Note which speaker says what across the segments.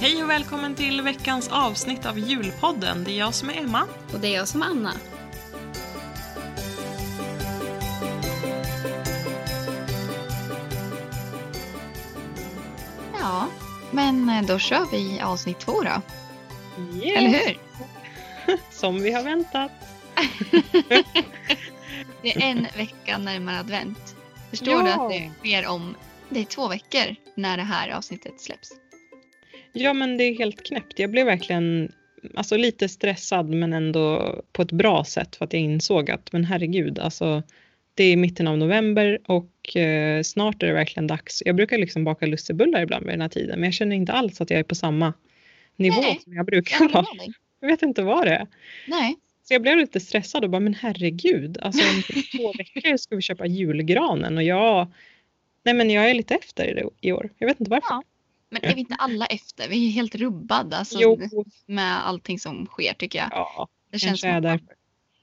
Speaker 1: Hej och välkommen till veckans avsnitt av Julpodden. Det är jag som är Emma.
Speaker 2: Och det är jag som är Anna. Ja, men eh, då kör vi avsnitt två då, eller hur?
Speaker 1: Som vi har väntat.
Speaker 2: Det är en vecka närmare advent. Förstår
Speaker 1: Ja.
Speaker 2: du att det sker om, det är två veckor när det här avsnittet släpps.
Speaker 1: Ja, men det är helt knäppt. Jag blev verkligen alltså, lite stressad, men ändå på ett bra sätt för att jag insåg att, men herregud, alltså, det är mitten av november och eh, snart är det verkligen dags. Jag brukar liksom baka lussebullar ibland vid den här tiden, men jag känner inte alls att jag är på samma nivå
Speaker 2: Nej.
Speaker 1: som jag
Speaker 2: Jag
Speaker 1: brukar
Speaker 2: håller
Speaker 1: vara.
Speaker 2: med dig.
Speaker 1: Jag vet inte vad det är.
Speaker 2: Nej,
Speaker 1: Så jag blev lite stressad och bara, men herregud, alltså om typ två veckor ska vi köpa julgranen och jag, nej men jag är lite efter i det i år. Jag vet inte varför.
Speaker 2: Ja, men är vi inte alla efter? Vi är ju helt rubbade alltså,
Speaker 1: jo,
Speaker 2: med allting som sker tycker jag.
Speaker 1: ja,
Speaker 2: Det känns
Speaker 1: kanske
Speaker 2: som
Speaker 1: är
Speaker 2: att man
Speaker 1: därför.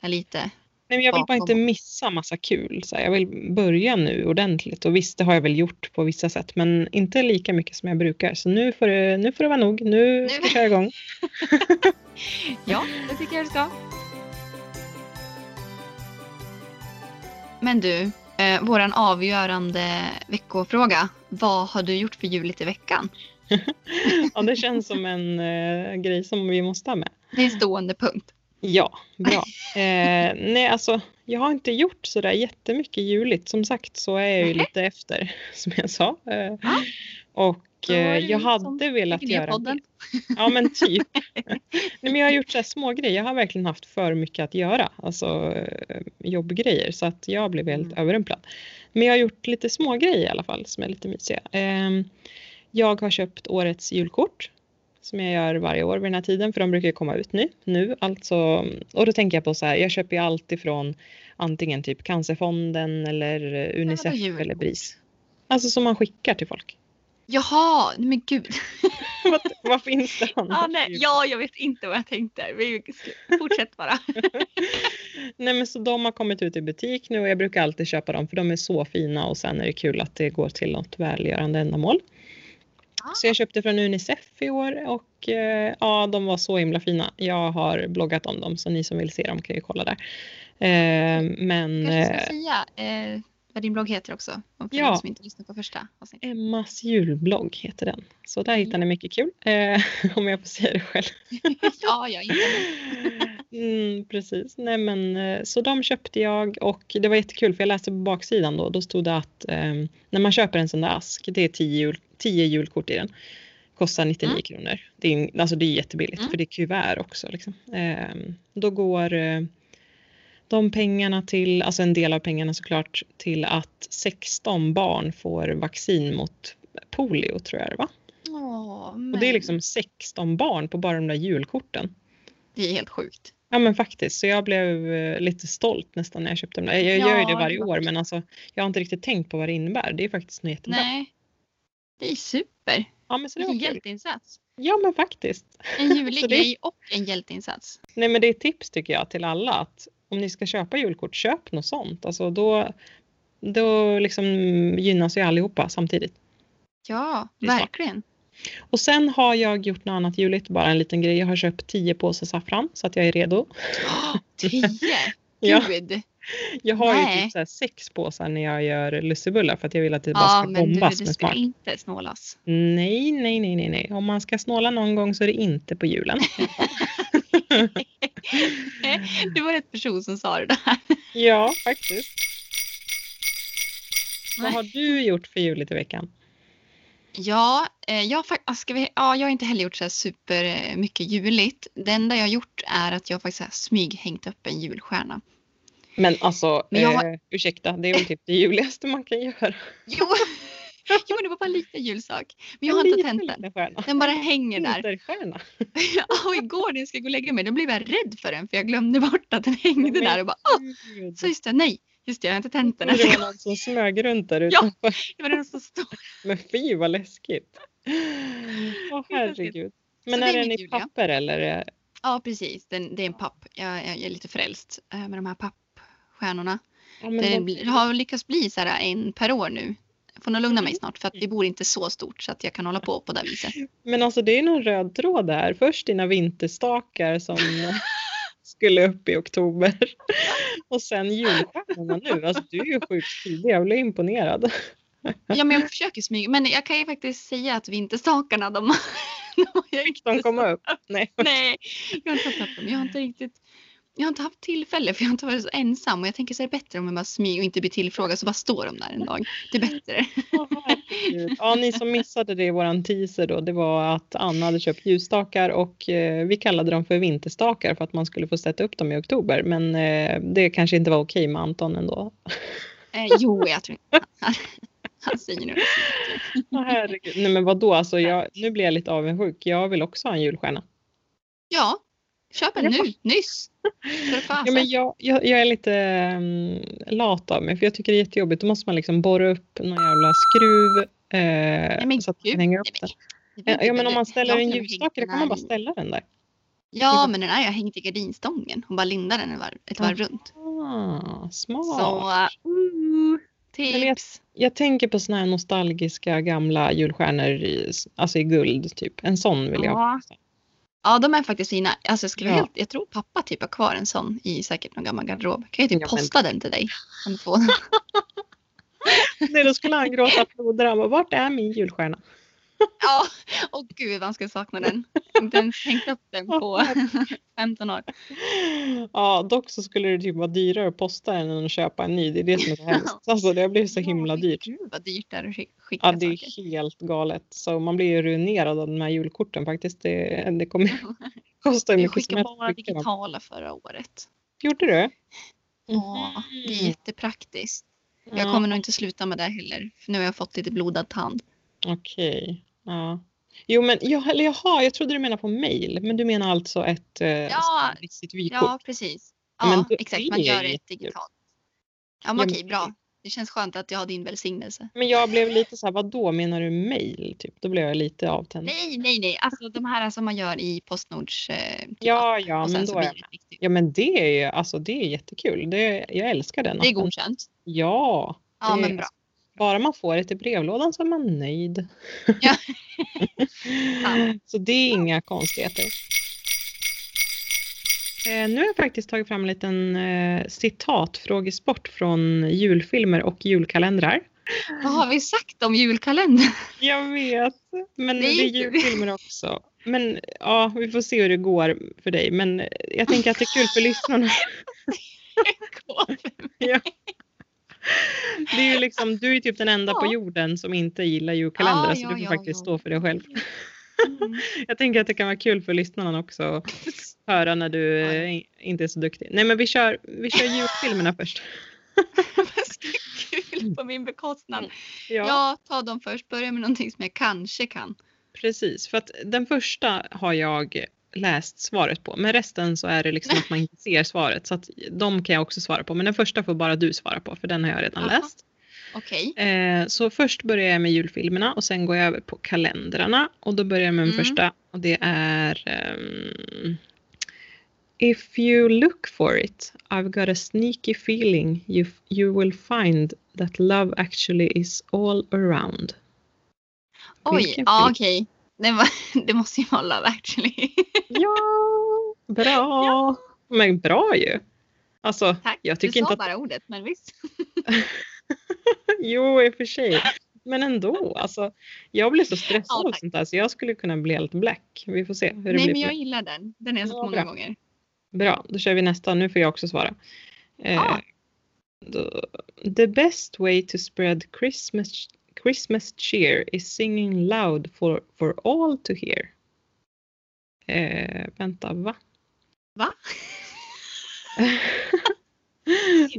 Speaker 2: är lite...
Speaker 1: Nej, men jag vill bara
Speaker 2: bakom.
Speaker 1: inte missa massa kul. Så här, jag vill börja nu ordentligt och visst, det har jag väl gjort på vissa sätt, men inte lika mycket som jag brukar. Så nu får det, nu får det vara nog. Nu ska vi köra igång.
Speaker 2: Ja, det tycker jag du ska. Men du, eh, våran avgörande veckofråga. Vad har du gjort för juligt i veckan?
Speaker 1: Ja, det känns som en eh, grej som vi måste ha med.
Speaker 2: Det är en stående punkt.
Speaker 1: Ja, bra. Eh, nej, alltså jag har inte gjort sådär jättemycket juligt. Som sagt så är jag ju
Speaker 2: Nähä.
Speaker 1: lite efter, som jag sa. Eh,
Speaker 2: Ja.
Speaker 1: och
Speaker 2: Då är
Speaker 1: eh,
Speaker 2: det
Speaker 1: jag
Speaker 2: vi som
Speaker 1: hade velat
Speaker 2: tycker ner
Speaker 1: göra
Speaker 2: podden.
Speaker 1: det. Ja, men typ. nej, men jag har gjort så här små grejer. Jag har verkligen haft för mycket att göra, alltså eh, jobbgrejer, så att jag blev helt
Speaker 2: Mm.
Speaker 1: överrumplad. Men jag har gjort lite små grejer i alla fall som är lite mysiga. Eh, jag har köpt årets julkort som jag gör varje år vid den här tiden för de brukar ju komma ut nu. nu alltså, och då tänker jag på så här, jag köper ju allt ifrån antingen typ Cancerfonden eller eh, Unicef
Speaker 2: julkort?
Speaker 1: eller BRIS. Alltså som man skickar till folk.
Speaker 2: Jaha, nej men gud.
Speaker 1: vad, vad finns det annars?
Speaker 2: Ah, nej, ja, jag vet inte vad jag tänkte. Vi fortsätt bara.
Speaker 1: Nej men så de har kommit ut i butik nu och jag brukar alltid köpa dem för de är så fina och sen är det kul att det går till något välgörande ändamål.
Speaker 2: Ah.
Speaker 1: Så jag köpte från Unicef i år och eh, ja, de var så himla fina. Jag har bloggat om dem så ni som vill se dem kan ju kolla där. Eh, men
Speaker 2: Kanske ska
Speaker 1: eh,
Speaker 2: säga eh, vad din blogg heter också. Om för
Speaker 1: Ja.
Speaker 2: de som inte lyssnade på första avsnittet.
Speaker 1: Emmas julblogg heter den. Så
Speaker 2: Mm.
Speaker 1: där hittar ni mycket kul. Eh, om jag får säga det själv.
Speaker 2: Ja, jag inte.
Speaker 1: Mm, precis. Nej, men, eh, så de köpte jag och det var jättekul för jag läste på baksidan då. Då stod det att ehm, när man köper en sån där ask, det är 10 jul, 10 julkort i den. Kostar 99
Speaker 2: Mm.
Speaker 1: kronor. Det är, in- alltså det är jättebilligt
Speaker 2: Mm.
Speaker 1: för det är kuvert också. Liksom. Ehm, då går eh, de pengarna till, alltså en del av pengarna såklart, till att 16 barn får vaccin mot polio tror jag det var.
Speaker 2: Åh,
Speaker 1: Och
Speaker 2: men...
Speaker 1: det är liksom 16 barn på bara de där julkorten.
Speaker 2: det är helt sjukt.
Speaker 1: Ja men faktiskt, så jag blev eh, lite stolt nästan när jag köpte dem. där. Jag gör ju det
Speaker 2: Ja,
Speaker 1: varje
Speaker 2: det var-
Speaker 1: år men alltså, jag har inte riktigt tänkt på vad det innebär. Det är faktiskt något jättebra.
Speaker 2: Nej. Det är super.
Speaker 1: Ja men så det
Speaker 2: Vilken
Speaker 1: var kul.
Speaker 2: hjälteinsats.
Speaker 1: Ja men faktiskt.
Speaker 2: En julig
Speaker 1: Så det-
Speaker 2: grej och en hjälteinsats.
Speaker 1: Nej men det är ett tips tycker jag till alla att om ni ska köpa julkort, köp något sånt. Alltså då, då liksom gynnas ju allihopa samtidigt.
Speaker 2: Ja,
Speaker 1: Det är smart.
Speaker 2: verkligen.
Speaker 1: Och sen har jag gjort något annat juligt, bara en liten grej. Jag har köpt 10 påsar saffran så att jag är redo.
Speaker 2: Åh, Tio!
Speaker 1: Ja.
Speaker 2: Gud!
Speaker 1: Jag har ju
Speaker 2: Nej.
Speaker 1: typ så här sex påsar när jag gör lussebullar för att jag vill att det bara
Speaker 2: Ja,
Speaker 1: ska
Speaker 2: men du,
Speaker 1: bombas
Speaker 2: det
Speaker 1: med
Speaker 2: ska
Speaker 1: smak.
Speaker 2: inte snålas.
Speaker 1: Nej, nej, nej, nej, nej. Om man ska snåla någon gång så är det inte på julen. Mm.
Speaker 2: Du var rätt person som sa det där.
Speaker 1: ja, faktiskt. Vad
Speaker 2: Nej.
Speaker 1: har du gjort för julet i veckan?
Speaker 2: Ja, eh, jag, har fak- ah, ska vi, ja, jag har inte heller gjort så här super eh, mycket juligt. Det enda jag har gjort är att jag faktiskt har smyghängt upp en julstjärna.
Speaker 1: Men alltså,
Speaker 2: Men jag har-
Speaker 1: eh, ursäkta, det är väl typ det juligaste man kan göra.
Speaker 2: Jo, jo det var bara en liten julsak. Men jag har inte tänt den.
Speaker 1: Stjärna.
Speaker 2: Den bara hänger där.
Speaker 1: Vinterstjärna.
Speaker 2: Ja, och igår när jag skulle gå och lägga mig då blev jag rädd för den för jag glömde bort att den hängde
Speaker 1: Men
Speaker 2: där och bara åh,
Speaker 1: Gud.
Speaker 2: Ah, så just det, nej, just det, jag har inte tänt
Speaker 1: Det
Speaker 2: den. Det
Speaker 1: var någon som smög runt där
Speaker 2: Ja.
Speaker 1: utanför.
Speaker 2: var den som stod.
Speaker 1: Men fy vad läskigt. Åh herregud. Men
Speaker 2: Så
Speaker 1: är
Speaker 2: det är
Speaker 1: den
Speaker 2: mitt
Speaker 1: i
Speaker 2: jul, ja.
Speaker 1: papper eller?
Speaker 2: Ja, precis, den, det är en papp. Jag, jag, jag är lite frälst eh, med de här pappstjärnorna.
Speaker 1: Ja, men
Speaker 2: Det
Speaker 1: de-
Speaker 2: blir- har lyckats bli så här en per år nu. Jag får nog lugna mig snart för att vi bor inte så stort så att jag kan hålla på på det viset.
Speaker 1: Men alltså det är någon röd tråd där. Först dina vinterstakar som skulle upp i oktober och sen julstjärnorna nu. Alltså du är ju sjukt tidig. Jag blev imponerad.
Speaker 2: Ja, men jag försöker smyga. Men jag kan ju faktiskt säga att vinterstakarna, de, de har jag inte...
Speaker 1: De kom upp. Nej.
Speaker 2: Nej, jag har inte tagit upp dem. Jag har inte riktigt... Jag har inte haft tillfälle för jag har inte varit så ensam och jag tänker så är det bättre om jag bara smyger och inte blir tillfrågad så bara står de där en dag. Det är bättre.
Speaker 1: Åh, herregud. Ja, ni som missade det i våran teaser då, det var att Anna hade köpt ljusstakar och eh, vi kallade dem för vinterstakar för att man skulle få sätta upp dem i oktober. Men eh, det kanske inte var okej med Anton ändå.
Speaker 2: Eh, jo, jag tror inte. Han, han säger nu.
Speaker 1: Åh, herregud. Nej men vadå, alltså jag, nu blir jag lite avundsjuk. Jag vill också ha en julstjärna.
Speaker 2: Ja, köp en nu, nyss. För fasen.
Speaker 1: Ja, men jag, jag, jag är lite ehm, lat av mig för jag tycker det är jättejobbigt. Då måste man liksom borra upp någon jävla skruv eh,
Speaker 2: Nej, men
Speaker 1: så att man
Speaker 2: gud.
Speaker 1: kan hänga upp
Speaker 2: Nej,
Speaker 1: den.
Speaker 2: men
Speaker 1: Ja, ja men om man ställer
Speaker 2: Jag
Speaker 1: en
Speaker 2: har hängt
Speaker 1: ljusstake då
Speaker 2: den
Speaker 1: kan man
Speaker 2: här
Speaker 1: bara
Speaker 2: i-
Speaker 1: ställa den där.
Speaker 2: Ja, men den här har jag hängt i gardinstången och bara lindat den ett varv, ett varv runt.
Speaker 1: Ah, smart.
Speaker 2: Så, uh, tips.
Speaker 1: Jag tänker på såna här nostalgiska gamla julstjärnor i, alltså i guld typ. En sån vill jag ha.
Speaker 2: Ja. ja, de är faktiskt fina. Alltså, jag, skulle
Speaker 1: Ja.
Speaker 2: helt, jag tror pappa typ har kvar en sån i säkert någon gammal garderob. Kan jag typ
Speaker 1: Ja, men-
Speaker 2: posta den till dig? Om du får den.
Speaker 1: Nej då skulle han gråta floder. Han bara, vart är min julstjärna?
Speaker 2: Ja, åh gud vad han ska sakna den. Inte ens hängt upp den på 15 år.
Speaker 1: Ja dock så skulle det typ vara dyrare att posta än att köpa en ny. Det är det som är så hemskt. Alltså det blir så himla
Speaker 2: Ja, men
Speaker 1: dyrt.
Speaker 2: Gud vad dyrt det är att skick- skicka
Speaker 1: Ja det
Speaker 2: saker.
Speaker 1: är helt galet. Så man blir ju ruinerad av de här julkorten faktiskt. Det, det kommer kosta hur
Speaker 2: Vi
Speaker 1: mycket som
Speaker 2: skickade
Speaker 1: helst.
Speaker 2: bara digitala förra året.
Speaker 1: Gjorde du? Mhm.
Speaker 2: Ja, det är
Speaker 1: Mm.
Speaker 2: jättepraktiskt. Jag kommer nog inte sluta med det heller. För nu har jag fått lite blodad tand.
Speaker 1: Okej. Ja. Jo, men jag, eller jaha, jag trodde du menade på mail, men du menar alltså ett eh,
Speaker 2: Ja,
Speaker 1: sitt vykort?
Speaker 2: Ja, precis. Ja,
Speaker 1: men då-
Speaker 2: exakt.
Speaker 1: det
Speaker 2: Man
Speaker 1: är
Speaker 2: gör
Speaker 1: ju
Speaker 2: det
Speaker 1: jättekul.
Speaker 2: digitalt. Ja,
Speaker 1: Ja,
Speaker 2: men
Speaker 1: men Mm.
Speaker 2: okej, bra. Det känns skönt att jag har din välsignelse.
Speaker 1: Men jag blev lite så här, vad då menar du mail? Typ. Då blev jag lite avtänd.
Speaker 2: Nej, nej, nej. Alltså de här som man gör i Postnords... Eh, typ app.
Speaker 1: ja, ja,
Speaker 2: Och sen
Speaker 1: men
Speaker 2: så
Speaker 1: då är
Speaker 2: blir
Speaker 1: jag med.
Speaker 2: det riktigt.
Speaker 1: Ja, men det är ju alltså, det är jättekul. Det, jag älskar den.
Speaker 2: Det är
Speaker 1: appen.
Speaker 2: godkänt.
Speaker 1: Ja,
Speaker 2: Ja,
Speaker 1: Det-
Speaker 2: men bra.
Speaker 1: bara man får det i brevlådan så är man nöjd.
Speaker 2: Ja.
Speaker 1: så det är inga konstigheter. Eh, nu har jag faktiskt tagit fram en liten eh, citatfrågesport från julfilmer och julkalendrar.
Speaker 2: Vad har vi sagt om julkalendern?
Speaker 1: Jag vet, men
Speaker 2: Det
Speaker 1: det
Speaker 2: är
Speaker 1: är
Speaker 2: ju-
Speaker 1: julfilmer också. Men ja, vi får se hur det går för dig. Men jag tänker att det är kul för lyssnarna. Det är ju liksom, du är typ den enda på
Speaker 2: Ja.
Speaker 1: jorden som inte gillar julkalendrar
Speaker 2: Ja,
Speaker 1: så
Speaker 2: ja,
Speaker 1: du får
Speaker 2: ja,
Speaker 1: faktiskt
Speaker 2: ja.
Speaker 1: stå för det själv.
Speaker 2: Mm.
Speaker 1: Jag tänker att det kan vara kul för lyssnarna också att höra när du
Speaker 2: Ja.
Speaker 1: eh, inte är så duktig. Nej men vi kör, vi kör julfilmerna först.
Speaker 2: Vad ska kul på min bekostnad.
Speaker 1: Ja,
Speaker 2: Jag tar dem först. Börja med någonting som jag kanske kan.
Speaker 1: precis. För att den första har jag läst svaret på men resten så är det liksom att man inte ser svaret så att de kan jag också svara på men den första får bara du svara på för den har jag redan
Speaker 2: Jaha.
Speaker 1: läst.
Speaker 2: Okej.
Speaker 1: Eh, så först börjar jag med julfilmerna och sen går jag över på kalendrarna och då börjar jag med den
Speaker 2: Mm.
Speaker 1: första och det är ehm, If you look for it, I've got a sneaky feeling you, you will find that love actually is all around.
Speaker 2: Oj,
Speaker 1: Vilken
Speaker 2: ja
Speaker 1: film?
Speaker 2: okej. Det, var- det måste ju vara Love actually.
Speaker 1: Ja, bra! Men bra ju! Alltså,
Speaker 2: Tack.
Speaker 1: jag
Speaker 2: Du
Speaker 1: tycker
Speaker 2: sa
Speaker 1: inte att...
Speaker 2: bara ordet, men visst.
Speaker 1: Jo, i och för sig. Men ändå, alltså, jag blir så stressad
Speaker 2: Ja,
Speaker 1: av
Speaker 2: tack.
Speaker 1: sånt där så jag skulle kunna bli helt black. Vi får se hur det blir.
Speaker 2: Nej,
Speaker 1: på
Speaker 2: men jag gillar den. Den har jag sett
Speaker 1: Ja,
Speaker 2: många
Speaker 1: bra.
Speaker 2: gånger.
Speaker 1: Bra, då kör vi nästa. Nu får jag också svara. Eh,
Speaker 2: Ja.
Speaker 1: då, the best way to spread Christmas, Christmas cheer is singing loud for, for all to hear. Eh, vänta, va?
Speaker 2: Va?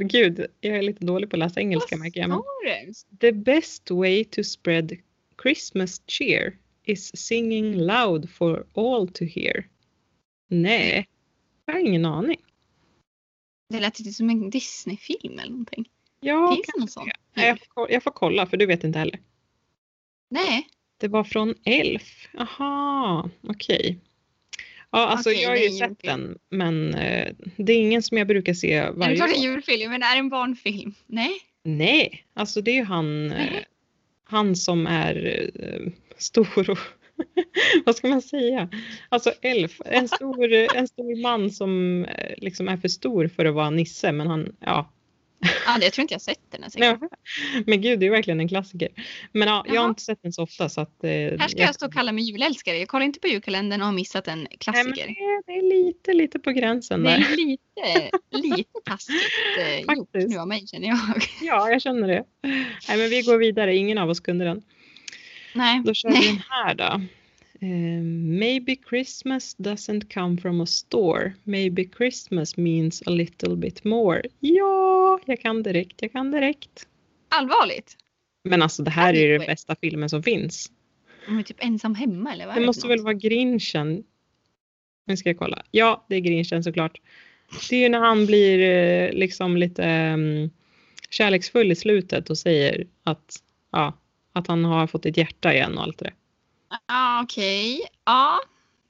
Speaker 1: Gud, jag är lite dålig på att läsa engelska
Speaker 2: Vad
Speaker 1: märker jag. Men
Speaker 2: sa du?
Speaker 1: the best way to spread Christmas cheer is singing loud for all to hear. Nej, jag har ingen aning.
Speaker 2: Det lät ju som en Disney-film eller någonting.
Speaker 1: Ja,
Speaker 2: Finns det någon sån?
Speaker 1: Nej, jag, får, ko- jag får kolla för du vet inte heller.
Speaker 2: Nej.
Speaker 1: Det var från Elf. Aha, okej. Ja, alltså
Speaker 2: Okej,
Speaker 1: jag har
Speaker 2: det är
Speaker 1: ju
Speaker 2: en
Speaker 1: sett
Speaker 2: julfilm.
Speaker 1: den men eh, det är ingen som jag brukar se
Speaker 2: Är det
Speaker 1: varje
Speaker 2: klart en
Speaker 1: år.
Speaker 2: julfilm? Men är det en barnfilm? Nej.
Speaker 1: Nej, alltså det är ju han, eh,
Speaker 2: Nej.
Speaker 1: han som är eh, stor och vad ska man säga? Alltså elf, en stor, eh, en stor man som eh, liksom är för stor för att vara Nisse men han, ja.
Speaker 2: Ja, det- jag tror inte jag sett den ens. en
Speaker 1: Nej,
Speaker 2: gång.
Speaker 1: Men gud det är verkligen en klassiker. Men ja, jag har
Speaker 2: Jaha.
Speaker 1: inte sett den så ofta så att. eh,
Speaker 2: Här ska jag stå och kalla mig julälskare. Jag kollar inte på julkalendern och har missat en
Speaker 1: Nej, men det,
Speaker 2: klassiker.
Speaker 1: är- det är lite, lite på gränsen
Speaker 2: Det
Speaker 1: där.
Speaker 2: är lite, lite taskigt eh, gjort
Speaker 1: eh, Faktiskt.
Speaker 2: nu av mig känner jag.
Speaker 1: Ja, jag känner det. Nej, men vi går vidare. Ingen av oss kunde den.
Speaker 2: Nej,
Speaker 1: Då kör vi den här då. Eh, maybe Christmas doesn't come from a store. Maybe Christmas means a little bit more. Ja, jag kan direkt. Jag kan direkt.
Speaker 2: allvarligt.
Speaker 1: Men alltså det här är ju den bästa filmen som finns.
Speaker 2: De är typ ensam hemma eller vad är
Speaker 1: Det
Speaker 2: för
Speaker 1: måste
Speaker 2: något?
Speaker 1: väl vara Grinchen. Nu ska jag kolla. Ja, det är Grinchen såklart. Det är ju när han blir eh, liksom lite ehm, kärleksfull i slutet och säger att, ja, att han har fått ett hjärta igen och allt det där.
Speaker 2: Ja, okej. Ja.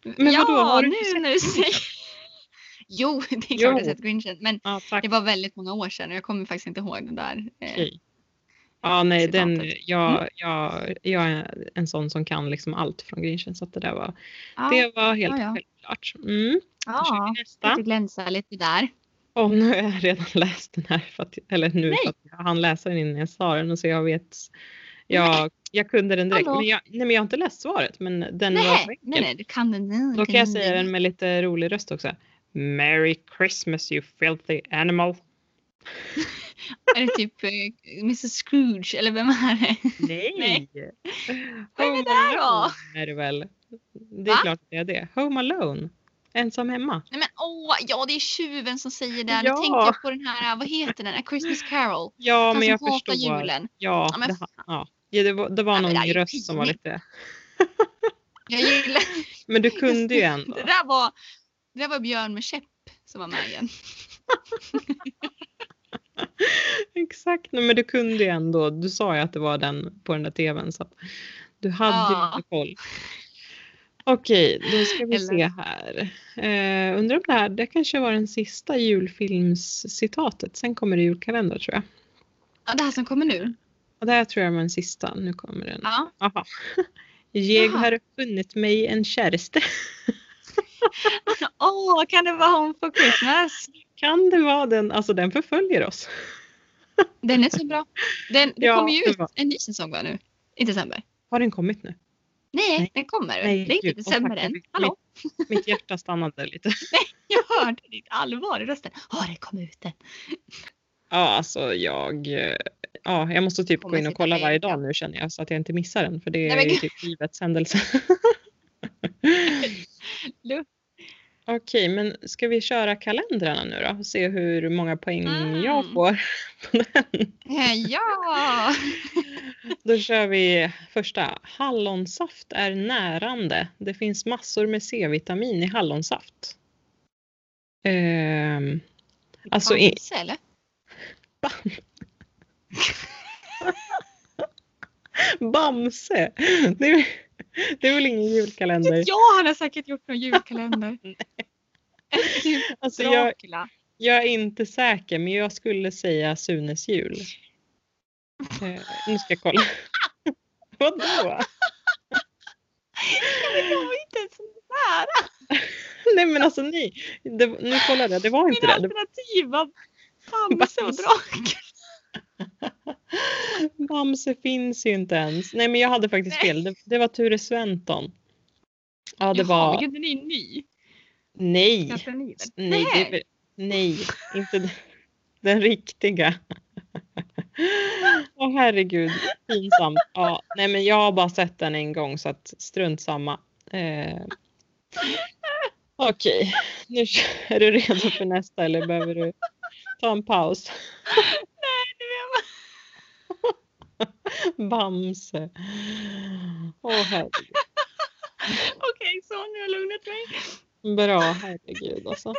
Speaker 1: Men
Speaker 2: ja,
Speaker 1: vadå, har du inte
Speaker 2: nu när du säger... Jo, det är klart jag har
Speaker 1: Jo.
Speaker 2: sett Grinchen. Men
Speaker 1: Ja, tack.
Speaker 2: det var väldigt många år sedan och jag kommer faktiskt inte ihåg den där. eh,
Speaker 1: Okej. Ja, nej, den,
Speaker 2: citatet.
Speaker 1: jag, jag, jag är en sån som kan liksom allt från Grinchen så att det där var,
Speaker 2: Ja,
Speaker 1: det var helt
Speaker 2: ja, ja.
Speaker 1: självklart. Mm. Då kör
Speaker 2: ja.
Speaker 1: vi nästa.
Speaker 2: Lite glänsa lite där.
Speaker 1: Åh, nu har jag redan läst den här, för att, eller nu
Speaker 2: Nej.
Speaker 1: för att jag hann läsa den innan jag sa den och så jag vet, jag, jag kunde den direkt.
Speaker 2: Hallå.
Speaker 1: Men jag, nej men jag har inte läst svaret men den var
Speaker 2: Nej,
Speaker 1: så enkel.
Speaker 2: nej, nej, du kan den. Nej,
Speaker 1: Då
Speaker 2: du
Speaker 1: kan jag
Speaker 2: den.
Speaker 1: säga den med lite rolig röst också. Merry Christmas you filthy animal.
Speaker 2: Är det typ eh, Mrs Scrooge eller vem är det?
Speaker 1: Nej!
Speaker 2: Nej. Vad är
Speaker 1: Home
Speaker 2: det där då?
Speaker 1: Alone är det väl. Det är
Speaker 2: Va?
Speaker 1: klart att det är det. Home Alone. Ensam hemma.
Speaker 2: Nej men åh, ja det är tjuven som säger det.
Speaker 1: Ja.
Speaker 2: Nu tänkte jag på den här, eh, vad heter den? A Christmas Carol.
Speaker 1: Ja,
Speaker 2: Han
Speaker 1: men
Speaker 2: som
Speaker 1: jag
Speaker 2: hatar
Speaker 1: förstår.
Speaker 2: julen.
Speaker 1: Ja,
Speaker 2: Ja, men
Speaker 1: det, ja. Ja, det var, det var
Speaker 2: Ja, men
Speaker 1: någon
Speaker 2: det är ju
Speaker 1: röst som var
Speaker 2: pinigt.
Speaker 1: lite...
Speaker 2: Jag gillar
Speaker 1: Men du kunde ju ändå.
Speaker 2: det. Där var, det där var Björn med käpp som var med igen.
Speaker 1: Exakt, nej, men du kunde ju ändå. Du sa ju att det var den på den där tvn så att du hade
Speaker 2: Ja.
Speaker 1: ju lite koll. Okej, då ska vi
Speaker 2: Eller-
Speaker 1: se här. Eh, undrar om det här, det kanske var den sista julfilmscitatet. Sen kommer det julkalender tror jag.
Speaker 2: Ja, det här som kommer nu.
Speaker 1: Och det här tror jag var den sista. Nu kommer den.
Speaker 2: Ja.
Speaker 1: Aha. Jag
Speaker 2: Jaha.
Speaker 1: har funnit mig en kärste.
Speaker 2: Åh, kan det vara Home for Christmas?
Speaker 1: Kan det vara den? Alltså den förföljer oss.
Speaker 2: Den är så bra. Den, det
Speaker 1: Ja,
Speaker 2: kommer ju
Speaker 1: det
Speaker 2: ut
Speaker 1: var-
Speaker 2: en ny säsong va nu? I december?
Speaker 1: Har den kommit nu?
Speaker 2: Nej,
Speaker 1: Nej.
Speaker 2: den kommer.
Speaker 1: Nej,
Speaker 2: det är
Speaker 1: gud.
Speaker 2: inte
Speaker 1: Åh,
Speaker 2: december
Speaker 1: tack.
Speaker 2: än. Hallå?
Speaker 1: Mitt hjärta stannade lite.
Speaker 2: Jag hörde ditt allvar i rösten. Har det kommit ut än?
Speaker 1: Ja, alltså jag... eh, Ja, jag måste typ gå
Speaker 2: Kommer
Speaker 1: in och
Speaker 2: sitta
Speaker 1: kolla
Speaker 2: med,
Speaker 1: varje
Speaker 2: ja.
Speaker 1: dag nu känner jag så att jag inte missar den för det
Speaker 2: Nej, men
Speaker 1: är ju
Speaker 2: gud.
Speaker 1: typ livets händelse.
Speaker 2: Lu-
Speaker 1: Okej, men ska vi köra kalendrarna nu då och se hur många poäng jag
Speaker 2: Mm.
Speaker 1: får på den?
Speaker 2: Eh, Ja!
Speaker 1: Då kör vi första. Hallonsaft är närande. Det finns massor med C-vitamin i hallonsaft. Ehm, alltså, i,
Speaker 2: Bamse eller?
Speaker 1: Bamse! Det är, det är väl ingen julkalender?
Speaker 2: Ja, han har säkert gjort någon julkalender. Typ
Speaker 1: Alltså, jag,
Speaker 2: Dracula.
Speaker 1: jag är inte säker, men jag skulle säga Sunes jul. Eh, nu ska jag kolla. Vadå?
Speaker 2: Det var inte ens nära.
Speaker 1: Nej men alltså ni, det, nu kollade jag, det var inte
Speaker 2: Mina
Speaker 1: det. det.
Speaker 2: alternativ var Bamse och
Speaker 1: Bamse.
Speaker 2: Dracula.
Speaker 1: Bamse finns ju inte ens. Nej men jag hade faktiskt
Speaker 2: Nej.
Speaker 1: fel, det, det var Ture Sventon. Ja det
Speaker 2: Jaha, men
Speaker 1: var,
Speaker 2: gud, den är ju ny.
Speaker 1: nej.
Speaker 2: Kanske den är ny, men-
Speaker 1: Nej, det är, väl-
Speaker 2: Nej.
Speaker 1: nej inte den, den riktiga. Åh herregud, pinsamt. Ja, nej men jag har bara sett den en gång så att strunt samma. Eh, Okej, nu kör- är du redo för nästa eller behöver du ta en paus? Bamse. Åh herregud.
Speaker 2: Okej, så nu har jag lugnat mig.
Speaker 1: Bra, herregud alltså.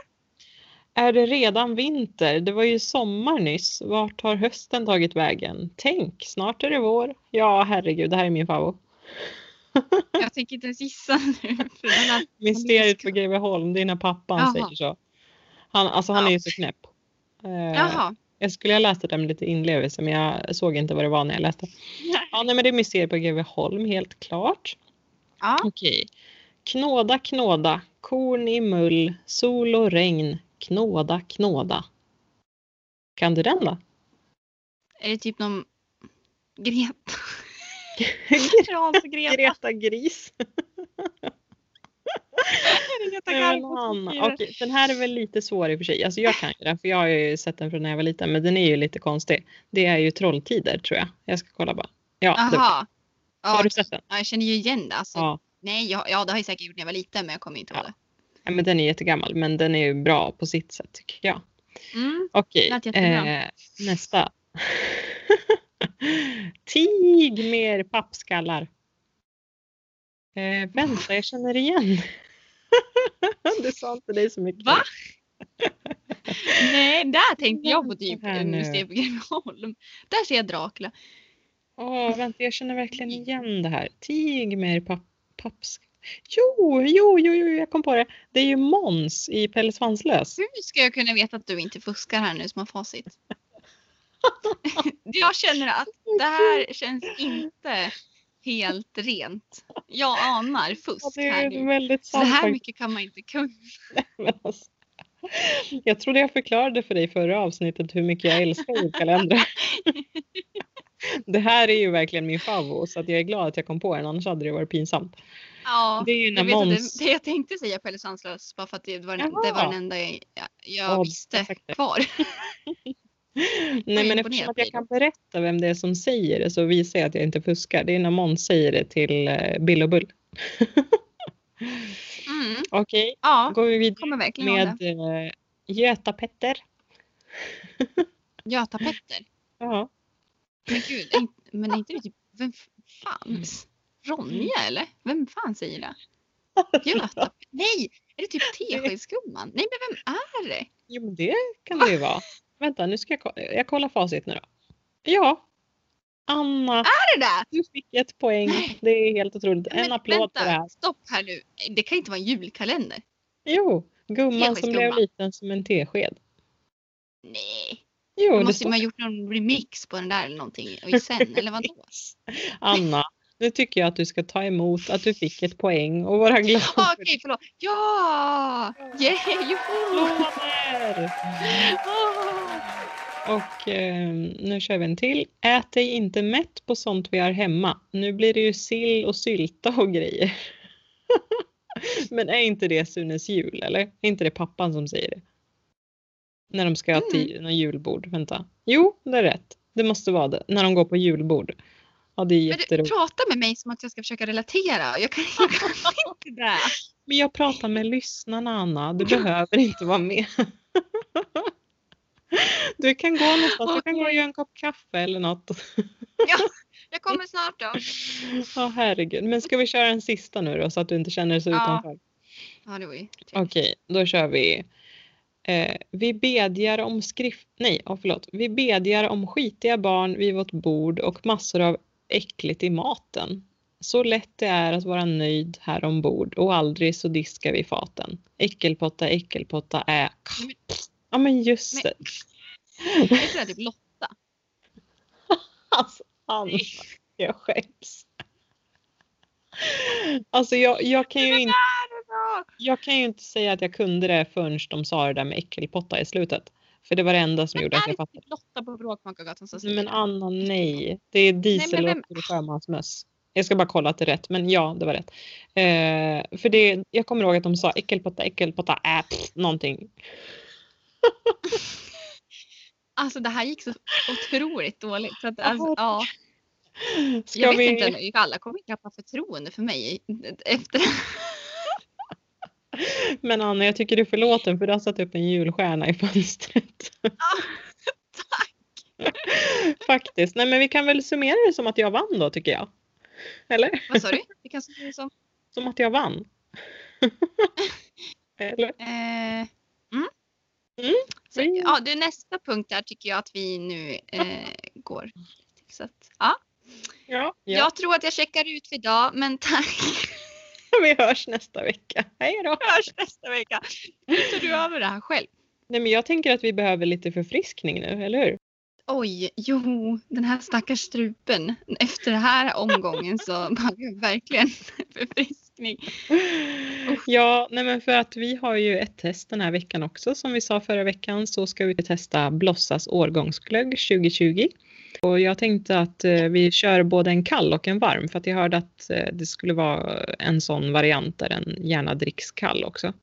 Speaker 1: Är det redan vinter? Det var ju sommar nyss. Vart har hösten tagit vägen? Tänk, snart är det vår. Ja, herregud, det här är min favorit.
Speaker 2: Jag tänker inte ens gissa nu. för den här-
Speaker 1: Eh. Mysteriet på Greveholm, det är när pappan
Speaker 2: Jaha.
Speaker 1: säger så. Han, alltså han är
Speaker 2: Ja.
Speaker 1: ju så knäpp. Eh,
Speaker 2: Jaha,
Speaker 1: Jag skulle ha läst det med lite inlevelse men jag såg inte vad det var när jag läste. Ja, nej, men det är museer på Greveholm helt klart.
Speaker 2: Ja.
Speaker 1: Okej. Knåda, knåda, korn i mull, sol och regn, knåda, knåda. Kan du den då?
Speaker 2: Är det typ någon Greta? Greta.
Speaker 1: Greta Gris.
Speaker 2: Greta
Speaker 1: Nej, men han, okej, den här är väl lite svår i och för sig. Alltså jag kan ju den för jag har ju sett den från när jag var liten men den är ju lite konstig. Det är ju Trolltider tror jag. Jag ska kolla bara. Ja, det,
Speaker 2: Jaha. Ja,
Speaker 1: har du sett den?
Speaker 2: ja, jag känner ju igen det. Alltså,
Speaker 1: Ja.
Speaker 2: Nej, jag, ja, det har jag säkert gjort när jag var liten men jag kommer inte ihåg
Speaker 1: Ja. Nej, men den är jättegammal men den är ju bra på sitt sätt tycker jag.
Speaker 2: det. Mm.
Speaker 1: Okej,
Speaker 2: Lät jättebra.
Speaker 1: eh, nästa. Tig mer pappskallar. Eh, vänta, jag känner igen. det sa inte dig så mycket.
Speaker 2: Va? Nej, där tänkte jag på
Speaker 1: Vänta
Speaker 2: typ
Speaker 1: här nu.
Speaker 2: museet på Greveholm. Där ser jag Dracula.
Speaker 1: Åh, vänta, jag känner verkligen igen det här. Tig mer papp, pappskallar. Jo, jo, jo, jo, jag kom på det. Det är ju Måns i Pelle Svanslös.
Speaker 2: Hur ska jag kunna veta att du inte fuskar här nu som har facit? jag känner att det här känns inte helt rent. Jag anar
Speaker 1: Ja,
Speaker 2: fusk
Speaker 1: det
Speaker 2: här
Speaker 1: är
Speaker 2: nu.
Speaker 1: väldigt
Speaker 2: Så
Speaker 1: sant.
Speaker 2: här
Speaker 1: faktiskt.
Speaker 2: mycket kan man inte kunna.
Speaker 1: Men alltså, Jag trodde jag förklarade för dig förra avsnittet hur mycket jag älskar julkalendrar. Det här är ju verkligen min favorit så att jag är glad att jag kom på den annars hade det varit pinsamt.
Speaker 2: Ja,
Speaker 1: Det är ju när
Speaker 2: jag, vet
Speaker 1: Måns...
Speaker 2: att det, det jag tänkte säga Pelle Svanslös bara för att det var, den-
Speaker 1: Jaha.
Speaker 2: det var den enda jag, jag, jag
Speaker 1: Ja,
Speaker 2: visste
Speaker 1: exakt det.
Speaker 2: kvar.
Speaker 1: Nej men
Speaker 2: imponerad
Speaker 1: eftersom att jag
Speaker 2: blir du.
Speaker 1: kan berätta vem det är som säger det så visar jag att jag inte fuskar. Det är när Måns säger det till eh, Bill och Bull.
Speaker 2: Mm,
Speaker 1: Okej,
Speaker 2: ja,
Speaker 1: går vi vidare
Speaker 2: kommer verkligen ihåg det.
Speaker 1: med eh, Göta-Petter.
Speaker 2: Göta-Petter.
Speaker 1: Ja.
Speaker 2: Men gud, är inte- men är inte det typ, vem f-
Speaker 1: Mm.
Speaker 2: fan? Ronja eller? Vem fan säger det? Göta? Nej, är det typ Teskedsgumman? Nej, men vem är det?
Speaker 1: Jo men det kan det ju vara. Vänta nu ska jag, ko- jag kollar facit nu då. Ja. Anna
Speaker 2: Är det där?
Speaker 1: Du fick ett poäng. Det är helt otroligt. En
Speaker 2: Men
Speaker 1: applåd för det här.
Speaker 2: stopp här nu. Det kan inte vara en julkalender.
Speaker 1: Jo, gumman som blev
Speaker 2: Teskedsgumman.
Speaker 1: liten som en tesked.
Speaker 2: Nej,
Speaker 1: Jo,
Speaker 2: då
Speaker 1: det
Speaker 2: måste
Speaker 1: står
Speaker 2: man ha gjort någon remix på den där eller någonting. Och sen, eller vadå?
Speaker 1: Anna. Nu tycker jag att du ska ta emot att du fick ett poäng och vara glad
Speaker 2: Ah,
Speaker 1: för det.
Speaker 2: Okej, förlåt. Ja! Yeah, joho!
Speaker 1: Applåder!
Speaker 2: Ah.
Speaker 1: Och eh, nu kör vi en till. Ät dig inte mätt på sånt vi har hemma. Nu blir det ju sill och sylta och grejer. Men är inte det Sunes jul eller? Är inte det pappan som säger det? När de ska till någon julbord. Vänta. Jo, det är rätt. Det måste vara det. När de går på julbord. Ja, det är
Speaker 2: Men du
Speaker 1: jätteroligt.
Speaker 2: pratar med mig som att jag ska försöka relatera. Jag kan, jag kan inte det.
Speaker 1: Men jag pratar med lyssnarna Anna. Du behöver inte vara med. Du kan gå någonstans. Du kan gå och göra en kopp kaffe eller något.
Speaker 2: Jag kommer snart då.
Speaker 1: Ja, herregud. Men ska vi köra en sista nu då så att du inte känner dig så
Speaker 2: Ja.
Speaker 1: utanför?
Speaker 2: Ja, det var ju trevligt.
Speaker 1: Okej, då kör vi. Eh, vi bedjar om skrift... Nej, oh, förlåt. Vi bedjar om skitiga barn vid vårt bord och massor av äckligt i maten. Så lätt det är att vara nöjd här ombord och aldrig så diskar vi faten. Äckelpotta, äckelpotta, ä.
Speaker 2: Men-
Speaker 1: Ja men just
Speaker 2: Men-
Speaker 1: det.
Speaker 2: Jag tror jag typ Lotta.
Speaker 1: Alltså, Anna, jag skäms. Alltså jag, jag kan ju inte... Jag kan ju inte säga att jag kunde det förrän de sa det där med äckelpotta i slutet. För det var det enda som gjorde att
Speaker 2: är
Speaker 1: jag
Speaker 2: det
Speaker 1: fattade.
Speaker 2: typ Lotta på Bråkmakargatan som
Speaker 1: Nej,
Speaker 2: säger
Speaker 1: men
Speaker 2: det?
Speaker 1: Anna, nej. Det är diesel
Speaker 2: vem-
Speaker 1: och sjömansmöss. Jag ska bara kolla att det är rätt, men ja, det var rätt. Eh, för det, jag kommer ihåg att de sa äckelpotta, äckelpotta, äh, pff, någonting.
Speaker 2: Alltså det här gick så otroligt dåligt. För att, alltså,
Speaker 1: Ja,
Speaker 2: ja,
Speaker 1: Ska
Speaker 2: jag vet
Speaker 1: vi...
Speaker 2: inte, alla kommer tappa förtroende för mig efter
Speaker 1: Men Anna, jag tycker du är förlåten för du har satt upp en julstjärna i fönstret. tack! Faktiskt. Nej, men vi kan väl summera det som att jag vann då, tycker jag. Eller?
Speaker 2: Vad sa du? Vi kan säga som,
Speaker 1: Som att jag vann. Eller?
Speaker 2: eh, mm.
Speaker 1: Mm,
Speaker 2: Så,
Speaker 1: det-
Speaker 2: ja, det är nästa punkt där tycker jag att vi nu eh, går. till. Så att, ja.
Speaker 1: Ja.
Speaker 2: Jag tror att jag checkar ut för idag, men tack.
Speaker 1: Vi hörs nästa vecka. Hej då!
Speaker 2: Hörs nästa vecka. Nu tar du över det här själv.
Speaker 1: Nej, men jag tänker att vi behöver lite förfriskning nu, eller hur?
Speaker 2: Oj, jo, den här stackars strupen. Efter den här omgången så behöver jag verkligen förfriskning.
Speaker 1: Ja, nej men för att vi har ju ett test den här veckan också. Som vi sa förra veckan så ska vi testa Blossas årgångsglögg 2020. Och jag tänkte att eh, vi kör både en kall och en varm för att jag hörde att eh, det skulle vara en sån variant där den gärna dricks kall också.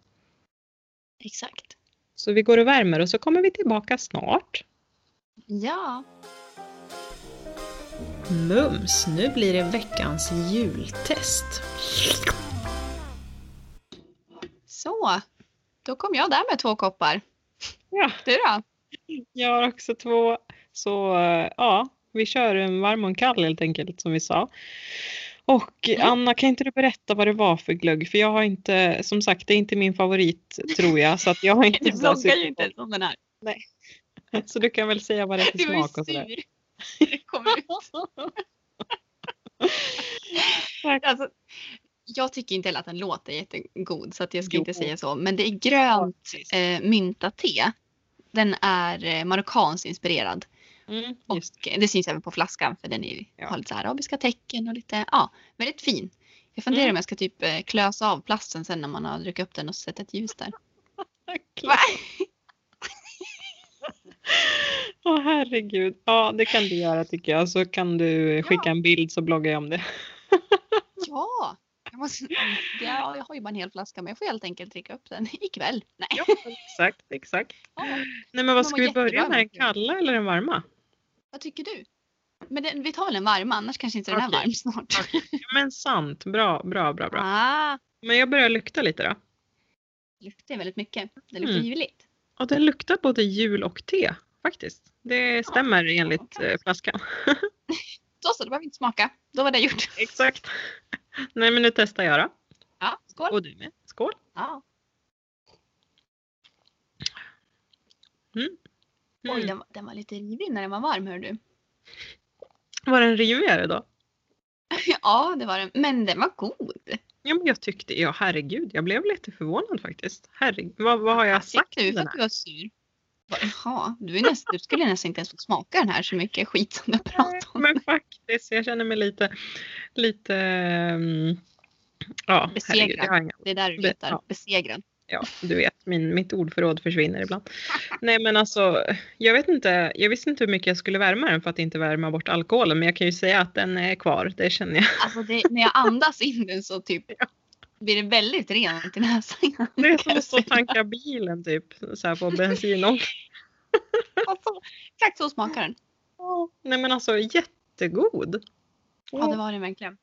Speaker 2: Exakt.
Speaker 1: Så vi går och värmer och så kommer vi tillbaka snart.
Speaker 2: Ja.
Speaker 1: Mums, nu blir det veckans jultest.
Speaker 2: Så. Då kom jag där med två koppar.
Speaker 1: Ja,
Speaker 2: Du då?
Speaker 1: jag har också två. Så eh, ja, vi kör en varm och en kall helt enkelt som vi sa. Och
Speaker 2: Mm.
Speaker 1: Anna, kan inte du berätta vad det var för glögg? För jag har inte, som sagt, det är inte min favorit tror jag. Så att jag har inte
Speaker 2: Du
Speaker 1: så
Speaker 2: vloggar ju
Speaker 1: superkoll.
Speaker 2: inte ens om den här.
Speaker 1: Så du kan väl säga vad det är för
Speaker 2: Du var
Speaker 1: smak
Speaker 2: ju
Speaker 1: och sådär.
Speaker 2: sur. Det kom ut.
Speaker 1: Tack.
Speaker 2: Alltså, jag tycker inte heller att den låter jättegod så att jag ska
Speaker 1: Jo.
Speaker 2: inte säga så. Men det är grönt eh, mynta-te. Den är eh, marockanskt inspirerad.
Speaker 1: Mm,
Speaker 2: Och
Speaker 1: just.
Speaker 2: det syns även på flaskan för den är,
Speaker 1: Ja.
Speaker 2: har lite så här arabiska tecken och lite, ja, väldigt fin. Jag funderar
Speaker 1: Mm.
Speaker 2: om jag ska typ eh, klösa av plasten sen när man har druckit upp den och sätta ett ljus där.
Speaker 1: Tack. Åh herregud. Ja, det kan du göra tycker jag. Så kan du skicka en bild så bloggar jag om det.
Speaker 2: Ja! Jag, måste, ja, jag har ju bara en hel flaska men jag får helt enkelt dricka upp den ikväll. Nej.
Speaker 1: Ja, exakt, exakt.
Speaker 2: Ja.
Speaker 1: Nej men vad
Speaker 2: De
Speaker 1: ska
Speaker 2: var
Speaker 1: vi börja
Speaker 2: jättebra,
Speaker 1: med? Den
Speaker 2: verkligen.
Speaker 1: kalla eller den varma?
Speaker 2: Vad tycker du? Men den, vi tar väl en varm annars kanske inte den är
Speaker 1: Okej.
Speaker 2: varm snart.
Speaker 1: Ja, men sant. Bra, bra, bra, bra.
Speaker 2: Ah,
Speaker 1: Men jag börjar lukta lite då.
Speaker 2: det luktar väldigt mycket. Det luktar
Speaker 1: Mm.
Speaker 2: ljuvligt.
Speaker 1: Ja, den luktar både jul och te faktiskt. Det stämmer enligt eh, flaskan.
Speaker 2: Så så, då behöver vi inte smaka. Då var det gjort.
Speaker 1: Exakt. Nej men nu testar jag då.
Speaker 2: Ja, skål.
Speaker 1: Och du med. Skål.
Speaker 2: Ja. Oj,
Speaker 1: Mm.
Speaker 2: den, den var lite rivig när den var varm hör du.
Speaker 1: Var den rivigare då?
Speaker 2: Ja, det var den. Men den var god.
Speaker 1: Ja, men jag tyckte, ja herregud, jag blev lite förvånad faktiskt. Herregud, vad, vad har jag sagt
Speaker 2: Fick du
Speaker 1: om
Speaker 2: för
Speaker 1: den
Speaker 2: att du
Speaker 1: här?
Speaker 2: var sur? Jaha, du, är nästan, du skulle nästan inte ens få smaka den här så mycket skit som du pratar om.
Speaker 1: Men faktiskt, jag känner mig lite, lite, mm, ja herregud,
Speaker 2: Besegrad.
Speaker 1: jag har inga,
Speaker 2: Det är där du
Speaker 1: Be-
Speaker 2: letar.
Speaker 1: ja.
Speaker 2: Besegrad.
Speaker 1: ja du vet, min, mitt ordförråd försvinner ibland. Nej men alltså, jag vet inte, jag visste inte hur mycket jag skulle värma den för att inte värma bort alkoholen, men jag kan ju säga att den är kvar, det känner jag.
Speaker 2: Alltså det, när jag andas in den så typ blir det väldigt rent i näsan.
Speaker 1: Det
Speaker 2: kan
Speaker 1: är som
Speaker 2: jag säga.
Speaker 1: att tanka bilen typ, så här på bensin och
Speaker 2: Alltså, exakt så smakar den.
Speaker 1: Nej men alltså jättegod.
Speaker 2: Ja, det var den verkligen.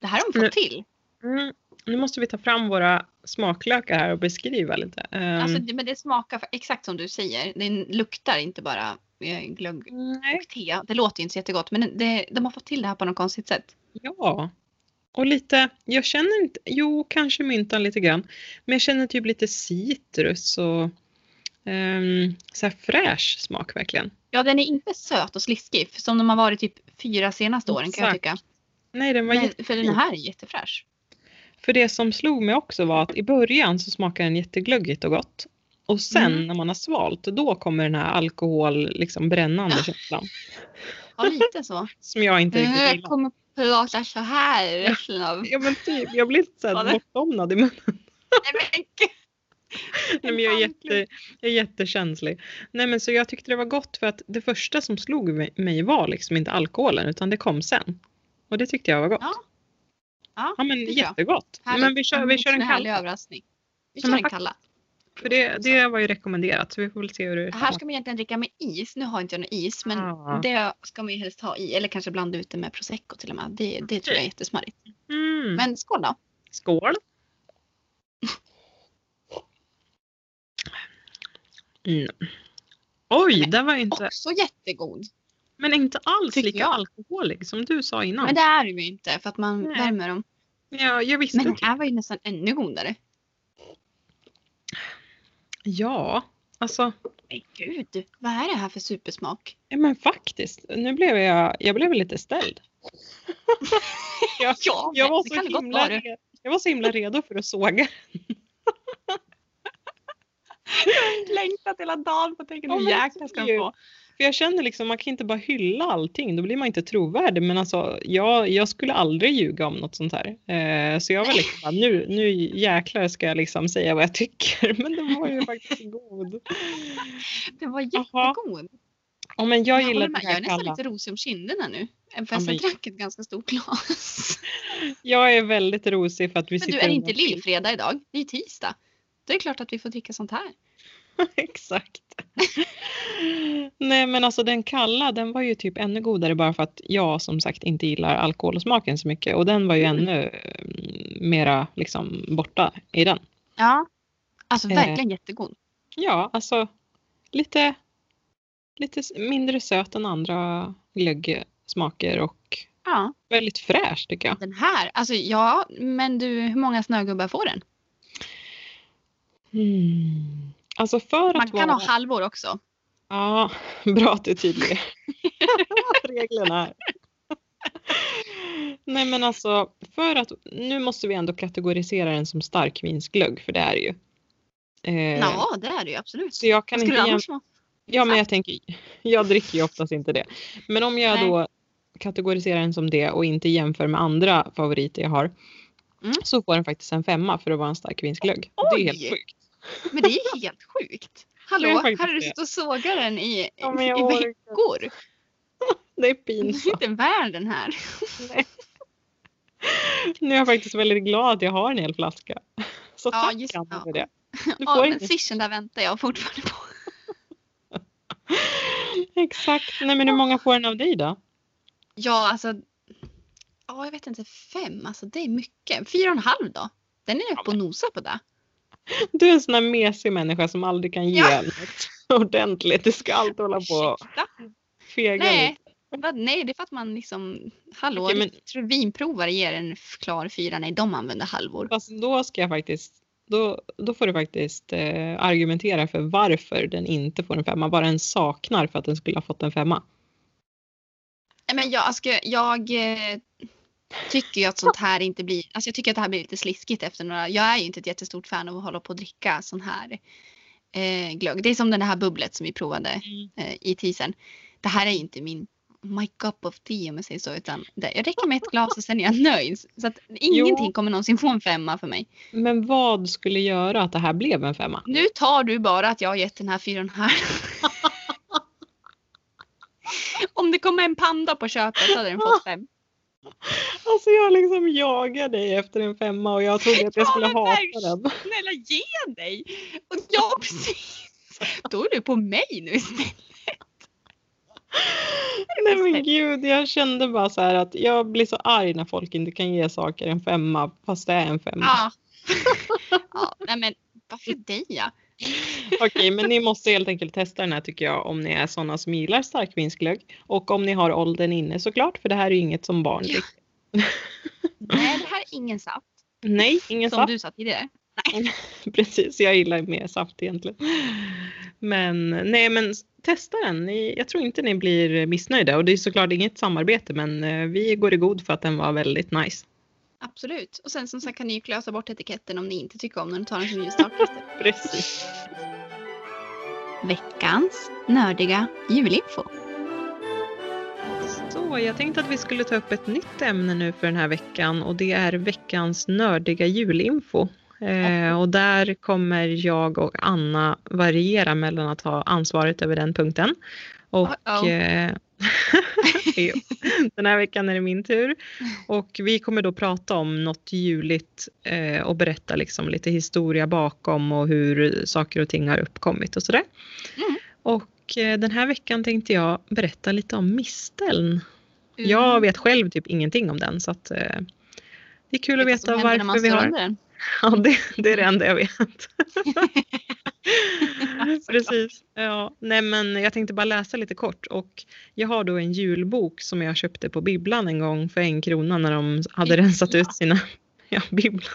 Speaker 2: Det här har de
Speaker 1: Nu-
Speaker 2: fått till.
Speaker 1: Mm. Nu måste vi ta fram våra smaklökar här och beskriva lite. Ehm,
Speaker 2: Alltså, det, men det smakar för- exakt som du säger. Den luktar inte bara eh, glögg
Speaker 1: nej.
Speaker 2: och te. Det låter ju inte så jättegott men det, de har fått till det här på något konstigt sätt.
Speaker 1: Ja. Och lite, jag känner inte, jo kanske myntan lite grann. Men jag känner typ lite citrus och ehm, så här fräsch smak verkligen.
Speaker 2: Ja, den är inte söt och sliskig för som de har varit typ fyra senaste åren kan jag tycka.
Speaker 1: Nej, den var
Speaker 2: Men,
Speaker 1: jätte...
Speaker 2: för den här är jättefräsch.
Speaker 1: För det som slog mig också var att i början så smakar den jätteglöggigt och gott. Och sen
Speaker 2: Mm.
Speaker 1: när man har svalt, då kommer den här alkohol, liksom brännande
Speaker 2: Ja.
Speaker 1: känslan.
Speaker 2: Ja, lite så.
Speaker 1: Som jag inte riktigt
Speaker 2: Eh, Mm, Jag
Speaker 1: gillar.
Speaker 2: kommer prata så här resten av...
Speaker 1: Ja men typ, jag blir lite
Speaker 2: Vad
Speaker 1: såhär
Speaker 2: det-
Speaker 1: bortdomnad i munnen.
Speaker 2: Nej, men gud.
Speaker 1: Nej, men jag, är
Speaker 2: Verkligen.
Speaker 1: jätte, jag är jättekänslig. Nej, men så jag tyckte det var gott för att det första som slog mig- mig var liksom inte alkoholen utan det kom sen. Och det tyckte jag var gott.
Speaker 2: Ja, Ja,
Speaker 1: Ja, men
Speaker 2: det tycker jag.
Speaker 1: jättegott.
Speaker 2: Härligt.
Speaker 1: Men vi kör, vi kör
Speaker 2: Det är
Speaker 1: en
Speaker 2: Mm, härlig
Speaker 1: kall.
Speaker 2: överraskning. Vi
Speaker 1: Ja,
Speaker 2: kör
Speaker 1: men
Speaker 2: en
Speaker 1: fakt-
Speaker 2: kalla.
Speaker 1: För det, det var ju rekommenderat så vi får väl se hur det
Speaker 2: Det här
Speaker 1: smakar.
Speaker 2: ska man egentligen dricka med is. Nu har inte jag någon is men
Speaker 1: Ah.
Speaker 2: det ska man ju helst ha i. Eller kanske blanda ut det med prosecco till och med. Det, det tror jag är jättesmarrigt.
Speaker 1: Mm.
Speaker 2: Men skål då.
Speaker 1: Skål! Mm. Oj,
Speaker 2: Men-
Speaker 1: det var inte,
Speaker 2: Också jättegod.
Speaker 1: men inte alls
Speaker 2: tycker
Speaker 1: lika
Speaker 2: jag.
Speaker 1: alkoholig som du sa innan.
Speaker 2: Men det är det ju inte för att man
Speaker 1: Nej.
Speaker 2: värmer dem.
Speaker 1: ja, jag visste
Speaker 2: Men den
Speaker 1: inte
Speaker 2: här var ju nästan ännu godare.
Speaker 1: Ja, alltså.
Speaker 2: Men gud, vad är det här för supersmak?
Speaker 1: Ja, men faktiskt. Nu blev jag, jag blev lite ställd. jag,
Speaker 2: Ja,
Speaker 1: jag, var
Speaker 2: det
Speaker 1: så
Speaker 2: kan det gott
Speaker 1: himla,
Speaker 2: vara.
Speaker 1: re- jag var så himla redo för att såga.
Speaker 2: längtat hela dagen på att tänka
Speaker 1: Ja,
Speaker 2: nu
Speaker 1: men
Speaker 2: jäklar ska jag
Speaker 1: ju.
Speaker 2: få.
Speaker 1: För jag känner liksom, man kan inte bara hylla allting, då blir man inte trovärdig. Men alltså, jag, jag skulle aldrig ljuga om något sånt här. Eh, så jag var liksom bara, nu, nu jäklar ska jag liksom säga vad jag tycker. Men den var ju faktiskt god.
Speaker 2: Den var jättegod.
Speaker 1: Ja, men jag
Speaker 2: håller
Speaker 1: gillar
Speaker 2: med.
Speaker 1: det
Speaker 2: jag är
Speaker 1: här
Speaker 2: nästan
Speaker 1: kalla.
Speaker 2: lite rosig om kinderna nu. Även
Speaker 1: Ja,
Speaker 2: fast
Speaker 1: men-
Speaker 2: jag drack ett ganska stort glas.
Speaker 1: Jag är väldigt rosig för att vi
Speaker 2: Men
Speaker 1: sitter...
Speaker 2: du, är det inte
Speaker 1: under-
Speaker 2: lillfredag idag? Det är ju tisdag. Då är det klart att vi får dricka sånt här.
Speaker 1: Exakt. Nej men alltså den kalla den var ju typ ännu godare bara för att jag som sagt inte gillar alkoholsmaken så mycket och den var ju
Speaker 2: Mm.
Speaker 1: ännu eh, mera liksom borta i den.
Speaker 2: Ja. Alltså
Speaker 1: Eh.
Speaker 2: verkligen jättegod.
Speaker 1: Ja alltså lite, lite s- mindre söt än andra glöggsmaker och
Speaker 2: Ja.
Speaker 1: väldigt fräsch tycker jag.
Speaker 2: Den här, alltså ja, men du, hur många snögubbar får den?
Speaker 1: Mm. Alltså för
Speaker 2: Man
Speaker 1: att
Speaker 2: kan
Speaker 1: vara...
Speaker 2: ha halvor också.
Speaker 1: Ja, bra att du är tydlig. Reglerna här. Nej men alltså, för att nu måste vi ändå kategorisera den som starkvinsglögg, för det är det ju. Eh,
Speaker 2: Ja, det är det ju absolut.
Speaker 1: Så jag
Speaker 2: Vad
Speaker 1: kan inte
Speaker 2: skulle det
Speaker 1: jäm...
Speaker 2: annars vara?
Speaker 1: Ja men jag tänker, jag dricker ju oftast inte det. Men om jag
Speaker 2: Nej.
Speaker 1: då kategoriserar den som det och inte jämför med andra favoriter jag har.
Speaker 2: Mm.
Speaker 1: Så får den faktiskt en femma för att vara en starkvinsglögg. Det är helt
Speaker 2: Oj!
Speaker 1: sjukt.
Speaker 2: Men det är helt sjukt. Hallå,
Speaker 1: Det är
Speaker 2: här
Speaker 1: faktiskt
Speaker 2: har du
Speaker 1: det.
Speaker 2: suttit och sågat den i,
Speaker 1: Ja, men jag
Speaker 2: i
Speaker 1: orkar.
Speaker 2: veckor.
Speaker 1: Det är
Speaker 2: Den
Speaker 1: pinsamt.
Speaker 2: är inte värd den här.
Speaker 1: Nu är jag faktiskt väldigt glad att jag har en hel flaska. Så
Speaker 2: Ja,
Speaker 1: tack
Speaker 2: just-
Speaker 1: Anna
Speaker 2: ja.
Speaker 1: för det. Du
Speaker 2: Ja,
Speaker 1: får
Speaker 2: men
Speaker 1: inget.
Speaker 2: swishen där väntar jag fortfarande på.
Speaker 1: Exakt. Nej men hur många får den av dig då?
Speaker 2: Ja, alltså. Ja, jag vet inte. Fem, alltså det är mycket. Fyra och en halv då? Den är uppe och nosar på det.
Speaker 1: Du är en sån där mesig människa som aldrig kan ge
Speaker 2: Ja.
Speaker 1: något ordentligt. Du ska alltid hålla på och
Speaker 2: Ursäkta?
Speaker 1: fega
Speaker 2: Nej.
Speaker 1: lite.
Speaker 2: vad- Nej, det är för att man liksom, hallå,
Speaker 1: Okej, men-
Speaker 2: jag tror vinprovare ger en f- klar fyra. Nej, de använder halvor.
Speaker 1: Fast då ska jag faktiskt, då, då får du faktiskt eh, argumentera för varför den inte får en femma. Vad den saknar för att den skulle ha fått en femma.
Speaker 2: Nej, men jag, alltså, jag eh, tycker ju att sånt här inte blir, alltså jag tycker att det här blir lite sliskigt efter några, jag är ju inte ett jättestort fan av att hålla på och dricka sån här eh, glögg. Det är som den här bubblet som vi provade eh, i tisen. Det här är ju inte min my cup of tea om jag säger så. Utan det, jag räcker med ett glas och sen är jag nöjd. Så att ingenting kommer någonsin få en femma för mig.
Speaker 1: Men vad skulle göra att det här blev en femma?
Speaker 2: Nu tar du bara att jag har gett den här fyran här. Om det kommer en panda på köpet hade den fått fem.
Speaker 1: Alltså jag liksom jagar dig efter en femma och jag trodde att jag
Speaker 2: Ja,
Speaker 1: skulle
Speaker 2: men
Speaker 1: hata
Speaker 2: verkligen.
Speaker 1: den.
Speaker 2: Snälla ge dig! Och ja precis. Då är du på mig nu istället.
Speaker 1: Nej men gud, jag kände bara så här att jag blir så arg när folk inte kan ge saker en femma fast det är en femma.
Speaker 2: Ja. Ah. ja. Nej men varför dig ja?
Speaker 1: Okej, men ni måste helt enkelt testa den här tycker jag om ni är sådana som gillar starkvinsglögg och om ni har åldern inne såklart för det här är ju inget som barn liksom.
Speaker 2: Ja.
Speaker 1: dricker.
Speaker 2: Nej det här är ingen saft.
Speaker 1: Nej, ingen
Speaker 2: Som
Speaker 1: saft.
Speaker 2: du sa tidigare.
Speaker 1: Precis, jag gillar mer saft egentligen. Men nej, men testa den. Ni, jag tror inte ni blir missnöjda och det är såklart inget samarbete men eh, vi går i god för att den var väldigt nice.
Speaker 2: Absolut. Och sen som sagt kan ni ju klösa bort etiketten om ni inte tycker om den och ta den som ljusstartliste.
Speaker 1: Precis.
Speaker 2: Veckans nördiga julinfo.
Speaker 1: Så jag tänkte att vi skulle ta upp ett nytt ämne nu för den här veckan och det är veckans nördiga julinfo. Eh, och där kommer jag och Anna variera mellan att ha ansvaret över den punkten. Och
Speaker 2: Uh-oh.
Speaker 1: eh, jo, den här veckan är det min tur. Och vi kommer då prata om något juligt eh, och berätta liksom lite historia bakom och hur saker och ting har uppkommit och sådär.
Speaker 2: Mm.
Speaker 1: Och eh, den här veckan tänkte jag berätta lite om misteln.
Speaker 2: Mm.
Speaker 1: Jag vet själv typ ingenting om den så att eh, det är kul att veta varför vi har
Speaker 2: den.
Speaker 1: Ja, det, det är det enda jag vet.
Speaker 2: såklart.
Speaker 1: Precis. Ja. Nej, men jag tänkte bara läsa lite kort. Och jag har då en julbok som jag köpte på bibblan en gång för en krona när de hade
Speaker 2: Bibblan.
Speaker 1: rensat ut sina... Ja, bibblan.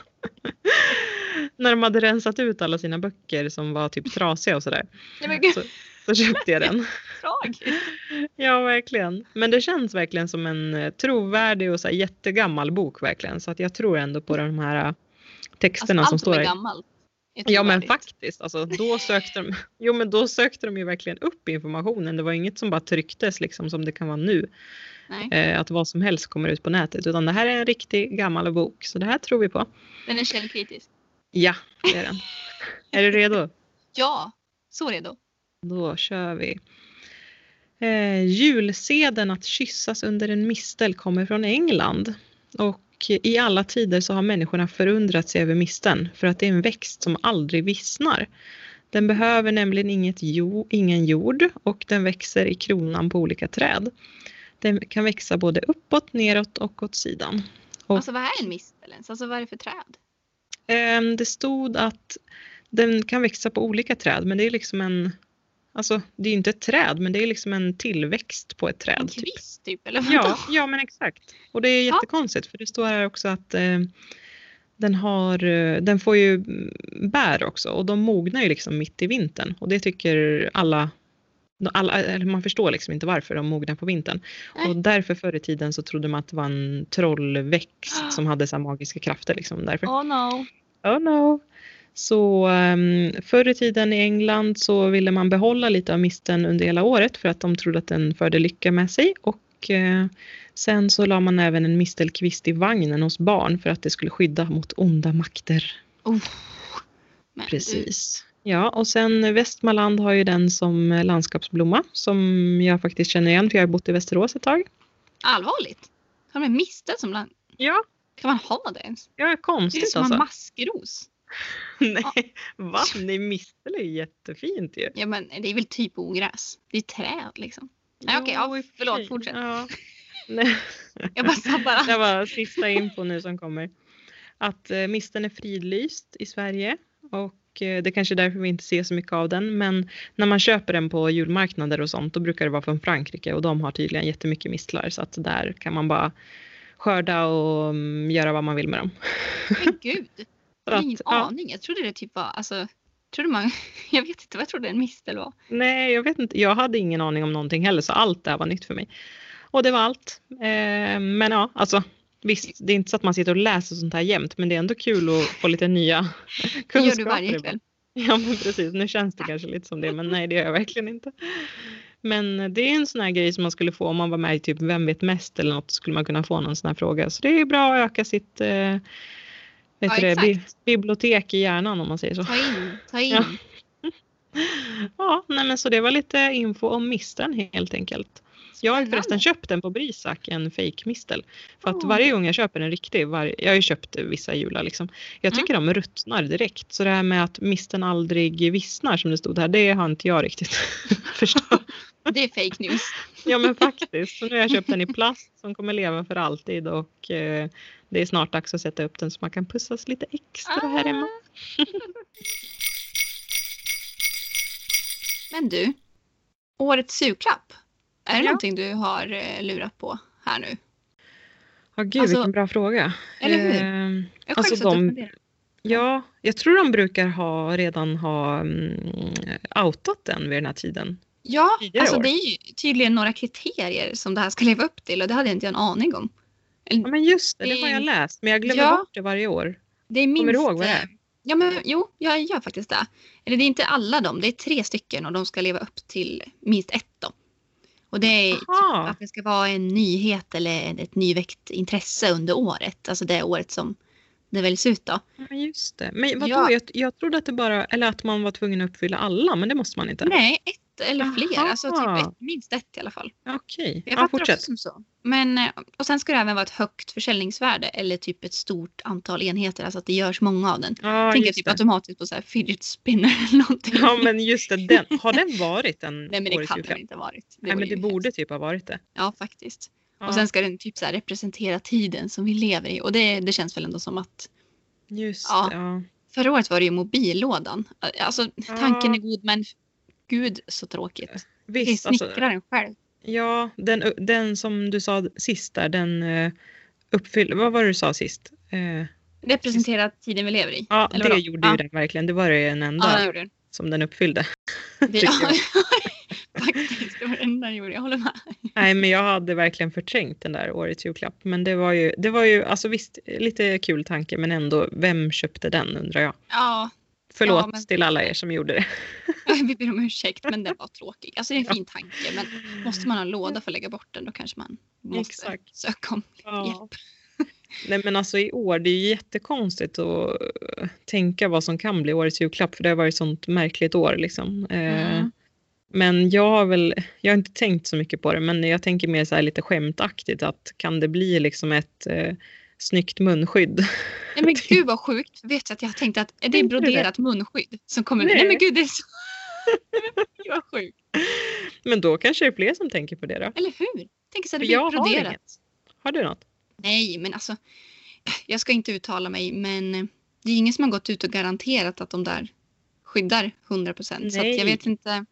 Speaker 1: när de hade rensat ut alla sina böcker som var typ trasiga och sådär.
Speaker 2: Nej men gud,
Speaker 1: Så, så köpte jag den.
Speaker 2: tragiskt.
Speaker 1: Ja, verkligen. Men det känns verkligen som en eh, trovärdig och så här jättegammal bok verkligen. Så att jag tror ändå på de här eh,
Speaker 2: Alltså,
Speaker 1: texterna
Speaker 2: allt
Speaker 1: som
Speaker 2: som
Speaker 1: står
Speaker 2: är
Speaker 1: i.
Speaker 2: gammalt. Jag tror
Speaker 1: Ja men
Speaker 2: det.
Speaker 1: faktiskt, alltså, då, sökte de, jo, men då sökte de ju verkligen upp informationen. Det var inget som bara trycktes liksom, som det kan vara nu.
Speaker 2: Nej.
Speaker 1: Eh, att vad som helst kommer ut på nätet. Utan det här är en riktig gammal bok, så det här tror vi på.
Speaker 2: Den är källkritisk.
Speaker 1: Ja, det är den. är du redo?
Speaker 2: Ja, så redo.
Speaker 1: Då kör vi. Eh, julseden att kyssas under en mistel kommer från England. Och i alla tider så har människorna förundrat sig över misteln för att det är en växt som aldrig vissnar. Den behöver nämligen inget jo, ingen jord och den växer i kronan på olika träd. Den kan växa både uppåt, neråt och åt sidan. Och-
Speaker 2: Alltså vad är en mistel ens? Alltså vad är det för träd?
Speaker 1: Ehm, Det stod att den kan växa på olika träd, men det är liksom en... Alltså, det är ju inte ett träd, men det är liksom en tillväxt på ett
Speaker 2: En
Speaker 1: träd. Typ.
Speaker 2: kvist typ? Eller vadå?
Speaker 1: Ja, ja, men exakt. Och det är
Speaker 2: Ja.
Speaker 1: jättekonstigt, för det står här också att eh, den, har, eh, den får ju mm, bär också, och de mognar ju liksom mitt i vintern. Och det tycker alla... alla eller man förstår liksom inte varför de mognar på vintern.
Speaker 2: Nej.
Speaker 1: Och därför förr i tiden så trodde man att det var en trollväxt som hade så här magiska krafter. Liksom, därför.
Speaker 2: Oh no.
Speaker 1: Oh no. Så um, förr i tiden i England så ville man behålla lite av misten under hela året för att de trodde att den förde lycka med sig. Och eh, sen så la man även en mistelkvist i vagnen hos barn för att det skulle skydda mot onda makter.
Speaker 2: Oh. Men Du,
Speaker 1: Precis. Ja, och sen Västmanland har ju den som eh, landskapsblomma som jag faktiskt känner igen för jag har bott i Västerås ett tag.
Speaker 2: allvarligt? Har de en mistel som land?
Speaker 1: Ja,
Speaker 2: Kan man ha det ens?
Speaker 1: ja
Speaker 2: Det är
Speaker 1: konstigt
Speaker 2: som en
Speaker 1: alltså.
Speaker 2: maskros.
Speaker 1: Nej, va? Nej, mistel är ju jättefint ju.
Speaker 2: Ja men det är väl typ ogräs. Det är träd liksom. Nej, okej, ja,
Speaker 1: Jo, i och för
Speaker 2: förlåt,
Speaker 1: sig.
Speaker 2: fortsätt.
Speaker 1: Ja. Nej.
Speaker 2: Jag bara sabbar allt.
Speaker 1: Det var sista info nu som kommer. Att eh, misten är fridlyst i Sverige och eh, det kanske är därför vi inte ser så mycket av den. Men när man köper den på julmarknader och sånt då brukar det vara från Frankrike och de har tydligen jättemycket mistlar så att där kan man bara skörda och mm, göra vad man vill med dem.
Speaker 2: Men gud.
Speaker 1: Så
Speaker 2: Jag har ingen
Speaker 1: att, ja.
Speaker 2: aning. Jag trodde det typ var, alltså, trodde man, jag vet inte vad jag trodde en mistel var.
Speaker 1: Nej, jag vet inte. Jag hade ingen aning om någonting heller, så allt det här var nytt för mig. Och det var allt. Eh, men ja, alltså visst, det är inte så att man sitter och läser sånt här jämt, men det är ändå kul att få lite nya
Speaker 2: Det
Speaker 1: kunskaper.
Speaker 2: gör du varje kväll.
Speaker 1: Ja, men precis. Nu känns det kanske lite som det, men nej, det gör jag verkligen inte. Men det är en sån här grej som man skulle få om man var med i typ Vem vet mest eller något, skulle man kunna få någon sån här fråga. Så det är bra att öka sitt eh, vet
Speaker 2: Ja,
Speaker 1: du det, bi-
Speaker 2: exakt.
Speaker 1: bibliotek i hjärnan om man säger så.
Speaker 2: Ta in, ta in.
Speaker 1: Ja. Ja, nej men så det var lite info om misten helt enkelt. Jag har ju förresten
Speaker 2: Spännande.
Speaker 1: köpt den på Brisac, en fake mistel. För att
Speaker 2: Oh.
Speaker 1: varje gång jag köper en riktig, var, jag har ju köpt vissa jular liksom. Jag tycker de ruttnar direkt. Så det här med att misten aldrig vissnar som det stod här, det har inte jag riktigt förstått.
Speaker 2: Det är fake news.
Speaker 1: Ja men faktiskt. Så nu har jag köpt den i plast som kommer leva för alltid och eh, det är snart dags att sätta upp den så man kan pussas lite extra här hemma.
Speaker 2: Ah. Men du, årets julklapp. Är det
Speaker 1: Ja.
Speaker 2: någonting du har eh, lurat på här nu?
Speaker 1: Ja gud
Speaker 2: Alltså-
Speaker 1: vilken bra fråga.
Speaker 2: Eller hur?
Speaker 1: Ehm,
Speaker 2: Jag har själv
Speaker 1: Alltså,
Speaker 2: suttit och
Speaker 1: de-
Speaker 2: funderat.
Speaker 1: Ja, jag tror de brukar ha, redan ha mm, outat den vid den här tiden.
Speaker 2: Ja,
Speaker 1: tidigare
Speaker 2: alltså
Speaker 1: år.
Speaker 2: det är ju tydligen några kriterier som det här ska leva upp till och det hade jag inte en aning om.
Speaker 1: Ja, men just det, det har jag
Speaker 2: Det-
Speaker 1: läst, men jag glömmer
Speaker 2: Ja.
Speaker 1: bort det varje år.
Speaker 2: Det är minst, eh,
Speaker 1: Kommer du ihåg vad det är?
Speaker 2: Ja, men, jo, jag gör faktiskt det. Eller det är inte alla dem, det är tre stycken och de ska leva upp till minst ett då. Och det är typ
Speaker 1: Aha.
Speaker 2: att det ska vara en nyhet eller ett nyväckt intresse under året. Alltså det året som det väljs ut då.
Speaker 1: Ja, Men just det. Men vadå,
Speaker 2: Ja.
Speaker 1: jag, jag trodde att det bara, eller att man var tvungen att uppfylla alla, men det måste man inte.
Speaker 2: Nej, ett eller fler.
Speaker 1: Aha.
Speaker 2: Alltså typ ett, minst ett i alla fall.
Speaker 1: Ja, Okej,
Speaker 2: Jag
Speaker 1: ja,
Speaker 2: fattar
Speaker 1: fortsätt.
Speaker 2: också som så. Men, eh, och sen ska det även vara ett högt försäljningsvärde eller typ ett stort antal enheter. Alltså att det görs många av den.
Speaker 1: Ja,
Speaker 2: Tänker
Speaker 1: just
Speaker 2: typ
Speaker 1: det.
Speaker 2: automatiskt på så här fidget spinner eller någonting.
Speaker 1: Ja, men just det. Den, har den varit en
Speaker 2: Nej men det
Speaker 1: årets
Speaker 2: kan
Speaker 1: julklapp?
Speaker 2: den inte ha varit.
Speaker 1: Nej,
Speaker 2: vore
Speaker 1: men det
Speaker 2: ju
Speaker 1: borde
Speaker 2: hemskt.
Speaker 1: typ ha varit det.
Speaker 2: Ja faktiskt.
Speaker 1: Ja,
Speaker 2: Och sen ska den typ så här representera tiden som vi lever i. Och det, det känns väl ändå som att
Speaker 1: just
Speaker 2: Ja.
Speaker 1: det. Ja.
Speaker 2: förra året var det ju mobillådan. Alltså tanken är god men gud så tråkigt. Vi
Speaker 1: Visst, alltså,
Speaker 2: snickrar den själv.
Speaker 1: Ja, den, den som du sa sist där, den eh, uppfyll... Vad var det du sa sist? Eh,
Speaker 2: Representera tiden vi lever i.
Speaker 1: Ja,
Speaker 2: Eller
Speaker 1: det
Speaker 2: vadå?
Speaker 1: gjorde
Speaker 2: Ja.
Speaker 1: ju den verkligen. Det var det en enda
Speaker 2: Ja, den gjorde den.
Speaker 1: som den uppfyllde.
Speaker 2: Det,
Speaker 1: tycker jag.
Speaker 2: faktiskt, det var den där gjorde. Jag håller med.
Speaker 1: Nej, men jag hade verkligen förträngt den där årets julklapp. Men det var ju, det var ju alltså visst, lite kul tanke, men ändå, vem köpte den undrar jag?
Speaker 2: Ja,
Speaker 1: Förlåt
Speaker 2: Ja, men-
Speaker 1: till alla er som gjorde det.
Speaker 2: Vi ber om ursäkt men den var tråkig. Alltså det är en fin tanke men måste man ha en låda för att lägga bort den då kanske man måste
Speaker 1: Exakt.
Speaker 2: söka om
Speaker 1: Ja.
Speaker 2: hjälp.
Speaker 1: Nej men alltså i år, det är ju jättekonstigt att eh, tänka vad som kan bli årets julklapp för det har varit ett sånt märkligt år liksom. Eh,
Speaker 2: Mm.
Speaker 1: Men jag har väl, jag har inte tänkt så mycket på det, men jag tänker mer så här lite skämtaktigt att kan det bli liksom ett eh, snyggt munskydd?
Speaker 2: Nej men gud vad sjukt. Vet du att jag tänkte att är det är
Speaker 1: Tänkte du det?
Speaker 2: broderat munskydd som kommer.
Speaker 1: Nej.
Speaker 2: Nej, men gud det är så. Gud, vad sjukt.
Speaker 1: Men då kanske det är fler som tänker på det då?
Speaker 2: Eller hur? Tänk så hade det
Speaker 1: Jag
Speaker 2: blivit
Speaker 1: har
Speaker 2: broderat.
Speaker 1: inget. Har du något?
Speaker 2: Nej men alltså. Jag ska inte uttala mig men det är ingen som har gått ut och garanterat att de där skyddar 100%. Så att
Speaker 1: Nej.
Speaker 2: jag vet inte.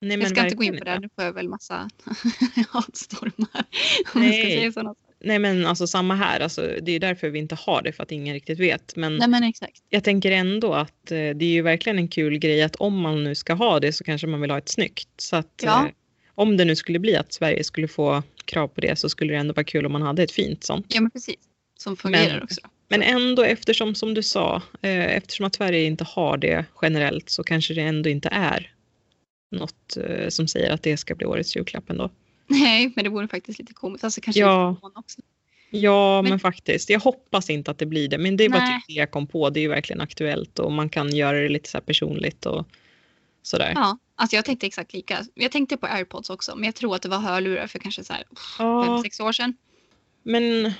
Speaker 1: Nej,
Speaker 2: Jag ska inte gå in på det, här, då får jag väl massa hatstormar. Om jag ska
Speaker 1: Nej.
Speaker 2: säga sådana saker.
Speaker 1: Nej men alltså samma här, alltså, det är ju därför vi inte har det för att ingen riktigt vet. Men
Speaker 2: Nej men exakt.
Speaker 1: jag tänker ändå att eh, det är ju verkligen en kul grej att om man nu ska ha det så kanske man vill ha ett snyggt. Så att,
Speaker 2: Ja.
Speaker 1: eh, om det nu skulle bli att Sverige skulle få krav på det så skulle det ändå vara kul om man hade ett fint sånt.
Speaker 2: Ja men precis. Som fungerar
Speaker 1: Men-
Speaker 2: också.
Speaker 1: Men ändå eftersom som du sa, eh, eftersom att Sverige inte har det generellt så kanske det ändå inte är något eh, som säger att det ska bli årets julklapp ändå.
Speaker 2: Nej men det vore faktiskt lite komiskt. Alltså kanske
Speaker 1: Ja.
Speaker 2: lite förvånande också.
Speaker 1: Ja, men,
Speaker 2: Men-
Speaker 1: faktiskt. Jag hoppas inte att det blir det. Men det var
Speaker 2: Nej.
Speaker 1: typ det jag kom på. Det är ju verkligen aktuellt och man kan göra det lite så här personligt och sådär.
Speaker 2: Ja. Alltså jag tänkte exakt lika. Jag tänkte på airpods också men jag tror att det var hörlurar för kanske så här
Speaker 1: Ja,
Speaker 2: 5-6 år sedan.
Speaker 1: men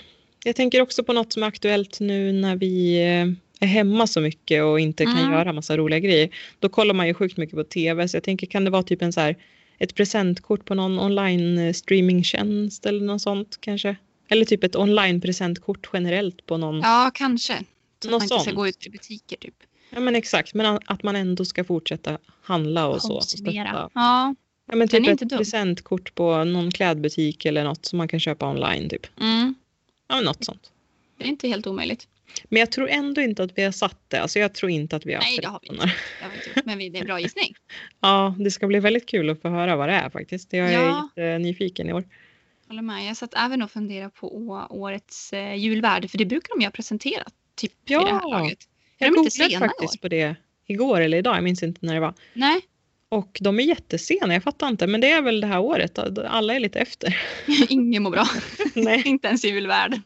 Speaker 1: jag tänker också på något som är aktuellt nu när vi eh, är hemma så mycket och inte kan
Speaker 2: Mm.
Speaker 1: göra massa roliga grejer. Då kollar man ju sjukt mycket på tv så jag tänker kan det vara typ en så här ett presentkort på någon online eh, streamingtjänst eller något sånt kanske? Eller typ ett online presentkort generellt på någon.
Speaker 2: Ja kanske. Så att
Speaker 1: Något
Speaker 2: man inte ska
Speaker 1: sånt,
Speaker 2: gå ut i
Speaker 1: typ.
Speaker 2: butiker typ.
Speaker 1: Ja men exakt, men a- att man ändå ska fortsätta handla och så. Och
Speaker 2: Konsumera.
Speaker 1: stötta.
Speaker 2: Ja.
Speaker 1: ja, men
Speaker 2: Den
Speaker 1: typ
Speaker 2: är inte
Speaker 1: ett
Speaker 2: dum.
Speaker 1: presentkort på någon klädbutik eller något som man kan köpa online typ.
Speaker 2: Mm.
Speaker 1: Ja, men något sånt.
Speaker 2: Det är inte helt omöjligt.
Speaker 1: Men jag tror ändå inte att vi har satt det. Alltså jag tror inte att vi har
Speaker 2: Nej,
Speaker 1: haft
Speaker 2: det har vi
Speaker 1: rätt.
Speaker 2: inte. Jag vet inte. Men det är en bra gissning.
Speaker 1: Ja, det ska bli väldigt kul att få höra vad det är faktiskt. Jag är
Speaker 2: Ja.
Speaker 1: jättenyfiken i år.
Speaker 2: håller med. Jag satt även och funderade på å- årets eh, julvärd, för det brukar de ju ha presenterat typ
Speaker 1: Ja.
Speaker 2: i det här laget. Är
Speaker 1: Jag
Speaker 2: de inte
Speaker 1: googlade
Speaker 2: sena i
Speaker 1: faktiskt
Speaker 2: år?
Speaker 1: på det igår eller idag, jag minns inte när det var.
Speaker 2: Nej,
Speaker 1: Och de är jättesena, jag fattar inte. Men det är väl det här året, alla är lite efter.
Speaker 2: ingen mår bra.
Speaker 1: Nej.
Speaker 2: inte ens julvärden.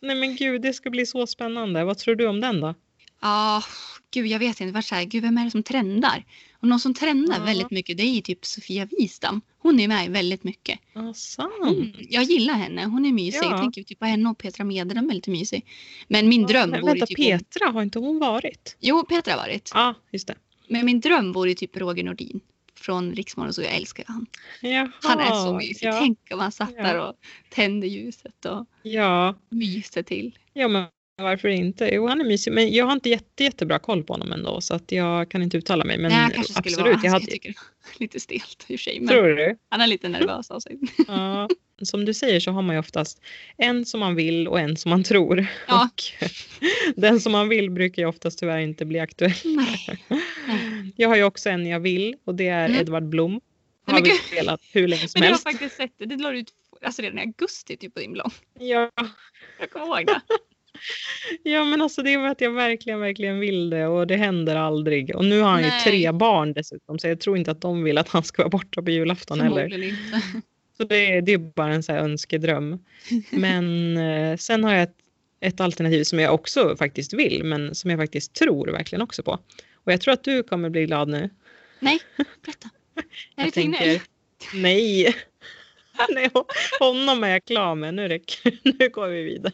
Speaker 1: Nej men gud, det ska bli så spännande. Vad tror du om den då?
Speaker 2: Ja, gud jag vet inte. Det var så här, gud vem är det som trendar? Och någon som trendar
Speaker 1: Ja.
Speaker 2: väldigt mycket det är ju typ Sofia Wistam. Hon är med väldigt mycket.
Speaker 1: Ah, sant.
Speaker 2: Mm. Jag gillar henne. Hon är mysig.
Speaker 1: Ja.
Speaker 2: Jag tänker typ på henne och Petra Mede. De är lite mysig. Men min dröm
Speaker 1: Men
Speaker 2: vore ju
Speaker 1: vänta,
Speaker 2: typ...
Speaker 1: Petra, har inte hon varit?
Speaker 2: Jo, Petra har varit.
Speaker 1: Ja, ah, just det.
Speaker 2: Men min dröm vore ju typ Roger Nordin. Från Riksmorgon så jag älskar han.
Speaker 1: Jaha,
Speaker 2: Han är så mysig.
Speaker 1: Ja,
Speaker 2: Tänk om han satt
Speaker 1: Ja.
Speaker 2: där och tände ljuset och
Speaker 1: ja.
Speaker 2: myste till.
Speaker 1: ja, men varför inte? Jo, han är mysig. Men jag har inte jätte, jättebra koll på honom ändå, så att jag kan inte uttala mig. Men
Speaker 2: Nej, han kanske skulle
Speaker 1: absolut,
Speaker 2: vara,
Speaker 1: jag
Speaker 2: jag,
Speaker 1: hade...
Speaker 2: jag tycker det var lite stelt i och för sig. Men
Speaker 1: Tror du?
Speaker 2: han är lite nervös av sig.
Speaker 1: Ja. Som du säger så har man ju oftast en som man vill och en som man tror.
Speaker 2: Ja.
Speaker 1: Och den som man vill brukar ju oftast tyvärr inte bli aktuell.
Speaker 2: Nej.
Speaker 1: Jag har ju också en jag vill och det är
Speaker 2: Mm.
Speaker 1: Edvard Blom.
Speaker 2: Nej,
Speaker 1: Har
Speaker 2: men
Speaker 1: vi
Speaker 2: gud.
Speaker 1: spelat hur länge som
Speaker 2: Men du har
Speaker 1: helst.
Speaker 2: faktiskt sett det. Det la du ut alltså redan i augusti typ på din blogg.
Speaker 1: Ja,
Speaker 2: Jag kommer ihåg det.
Speaker 1: ja, men alltså det är för att jag verkligen, verkligen vill det och det händer aldrig. Och nu har han
Speaker 2: Nej.
Speaker 1: ju tre barn dessutom så jag tror inte att de vill att han ska vara borta på julafton heller.
Speaker 2: Förmodligen inte.
Speaker 1: Så det, är- det är bara en så här önskedröm. Men eh, sen har jag ett, ett alternativ som jag också faktiskt vill men som jag faktiskt tror verkligen också på. Och jag tror att du kommer bli glad nu.
Speaker 2: Berätta. Är
Speaker 1: Jag
Speaker 2: det Tegnell?
Speaker 1: Nej. Nej, hon- honom är jag klar med. Nu räcker det. Nu går vi vidare.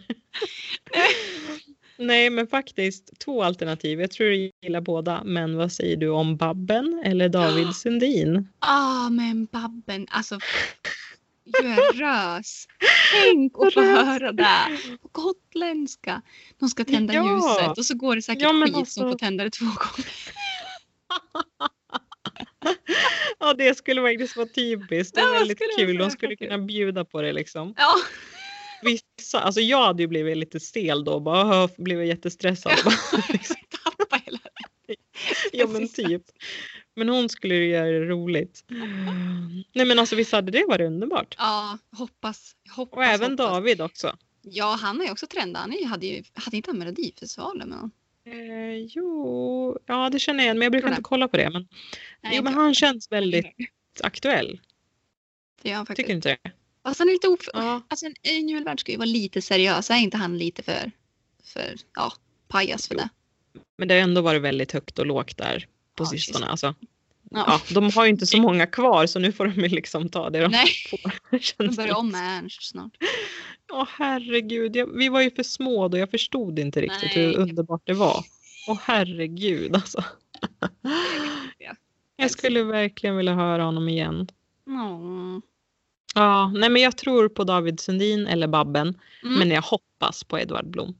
Speaker 1: Nej, men faktiskt två alternativ. Jag tror du gillar båda. Men vad säger du om Babben eller David Sundin?
Speaker 2: Ja, Ah, men Babben. Alltså, gud jag rös. Tänk att få
Speaker 1: Rös.
Speaker 2: höra det på gotländska. De ska tända
Speaker 1: Ja.
Speaker 2: ljuset och så går det säkert
Speaker 1: Ja, men
Speaker 2: skit
Speaker 1: alltså-
Speaker 2: som får tända det två gånger.
Speaker 1: Ja, det skulle verkligen vara typiskt. Det
Speaker 2: Ja,
Speaker 1: är
Speaker 2: vad
Speaker 1: väldigt
Speaker 2: skulle jag
Speaker 1: kul.
Speaker 2: säga?
Speaker 1: Hon skulle kunna bjuda på det liksom.
Speaker 2: Ja,
Speaker 1: Vissa, alltså jag hade ju blivit lite stel då. Bara "Åh", blev jag jättestressad. Bara, liksom.
Speaker 2: tappa hela.
Speaker 1: Ja men typ. Men hon skulle ju göra det roligt. Nej men alltså visst hade det varit underbart.
Speaker 2: Ja, hoppas. hoppas
Speaker 1: Och även
Speaker 2: hoppas.
Speaker 1: David också.
Speaker 2: Ja, han har ju också trendat. Han är ju- hade ju hade inte han Melodifestivalen med honom?
Speaker 1: Eh, jo, ja det känner jag igen men jag brukar
Speaker 2: Kolla.
Speaker 1: inte kolla på det. Men,
Speaker 2: Nej,
Speaker 1: jo men
Speaker 2: inte
Speaker 1: han känns väldigt aktuell.
Speaker 2: det gör han faktiskt.
Speaker 1: Tycker du inte det?
Speaker 2: Fast han är lite of...
Speaker 1: Ja.
Speaker 2: Alltså en, en julvärd ska ju vara lite seriös. Är inte han lite för, för ja, pajas för det?
Speaker 1: Men det har ändå varit väldigt högt och lågt där på
Speaker 2: Ja,
Speaker 1: sistone. Alltså,
Speaker 2: Ja.
Speaker 1: ja, de har ju inte så många kvar så nu får de ju liksom ta det de
Speaker 2: Nej,
Speaker 1: får.
Speaker 2: de
Speaker 1: känns det
Speaker 2: börjar
Speaker 1: lite
Speaker 2: om med Ernst snart.
Speaker 1: Åh herregud, jag, vi var ju för små då. Jag förstod inte riktigt
Speaker 2: Nej.
Speaker 1: hur underbart det var. Åh herregud alltså.
Speaker 2: jag.
Speaker 1: Jag skulle verkligen vilja höra honom igen.
Speaker 2: Åh.
Speaker 1: Ja, nej men jag tror på David Sundin eller Babben.
Speaker 2: Mm.
Speaker 1: Men jag hoppas på Edvard Blom.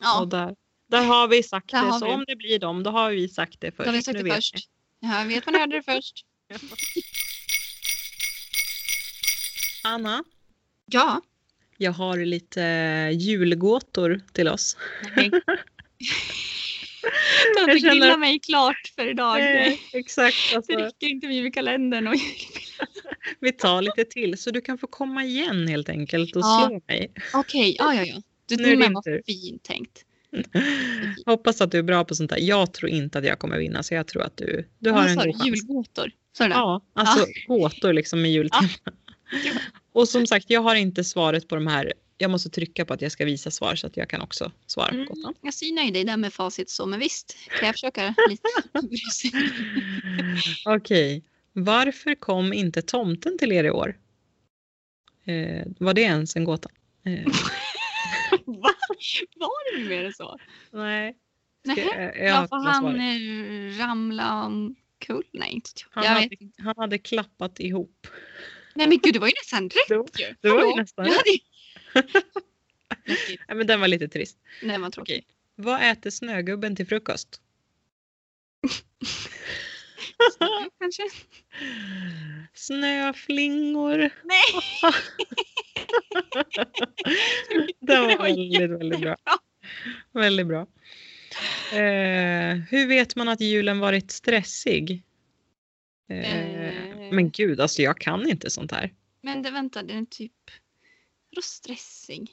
Speaker 2: ja,
Speaker 1: Och där, där har vi sagt
Speaker 2: Där
Speaker 1: det.
Speaker 2: har
Speaker 1: Så
Speaker 2: vi.
Speaker 1: om det blir dem, då har vi sagt det först.
Speaker 2: då har vi sagt
Speaker 1: Nu
Speaker 2: det
Speaker 1: vet
Speaker 2: först.
Speaker 1: ni.
Speaker 2: Ja, jag vet man hörde det först.
Speaker 1: Anna,
Speaker 2: Ja.
Speaker 1: jag har lite eh, julgåtor till oss.
Speaker 2: Nej. Du
Speaker 1: Jag känner-
Speaker 2: gillar mig klart för idag.
Speaker 1: Eh, Exakt,
Speaker 2: Det
Speaker 1: alltså,
Speaker 2: räcker inte med julkalendern och
Speaker 1: vi tar lite till så du kan få komma igen helt enkelt och
Speaker 2: Ja.
Speaker 1: slå mig.
Speaker 2: Okej, ja ja ja. Du,
Speaker 1: Nu är det
Speaker 2: men
Speaker 1: din
Speaker 2: vad
Speaker 1: tur.
Speaker 2: fint tänkt.
Speaker 1: Hoppas att du är bra på sånt där. Jag tror inte att jag kommer vinna så jag tror att du, du har
Speaker 2: Vad
Speaker 1: en
Speaker 2: sa
Speaker 1: god
Speaker 2: du?
Speaker 1: chans.
Speaker 2: Julgåtor? Sa du det?
Speaker 1: Ja, alltså gåtor liksom med jultema.
Speaker 2: Ja.
Speaker 1: Och som sagt, jag har inte svaret på de här. Jag måste trycka på att jag ska visa svar så att jag kan också svara på
Speaker 2: Mm,
Speaker 1: gåtan.
Speaker 2: jag synar ju dig där med facit så, men visst. Kan jag försöka lite?
Speaker 1: Okej. Varför kom inte tomten till er i år? Eh, var det ens en gåta? Eh,
Speaker 2: Va? Var det mer så?
Speaker 1: nej. Ska,
Speaker 2: Nej,
Speaker 1: eh, jag
Speaker 2: ja, för
Speaker 1: öppnar
Speaker 2: han
Speaker 1: svaret.
Speaker 2: eh, ramlade omkull? Nej, inte vet jag.
Speaker 1: Han
Speaker 2: jag
Speaker 1: hade-
Speaker 2: vet inte.
Speaker 1: han hade klappat ihop.
Speaker 2: Nej men gud, det var ju nästan rätt
Speaker 1: Det var-
Speaker 2: ju.
Speaker 1: det var ju
Speaker 2: Hallå?
Speaker 1: nästan
Speaker 2: Jag
Speaker 1: rätt.
Speaker 2: hade... Läskigt.
Speaker 1: Nej, men den var lite trist.
Speaker 2: Nej, vad tråkigt.
Speaker 1: Vad äter snögubben till frukost?
Speaker 2: Snö, Kanske?
Speaker 1: Snöflingor.
Speaker 2: Nej.
Speaker 1: Det
Speaker 2: Det
Speaker 1: var
Speaker 2: var
Speaker 1: väldigt, väldigt bra. Väldigt bra. Eh, hur vet man att julen varit stressig? Eh,
Speaker 2: Eh.
Speaker 1: men gud, alltså jag kan inte sånt här.
Speaker 2: Men det, vänta, den är typ... Vadå stressig?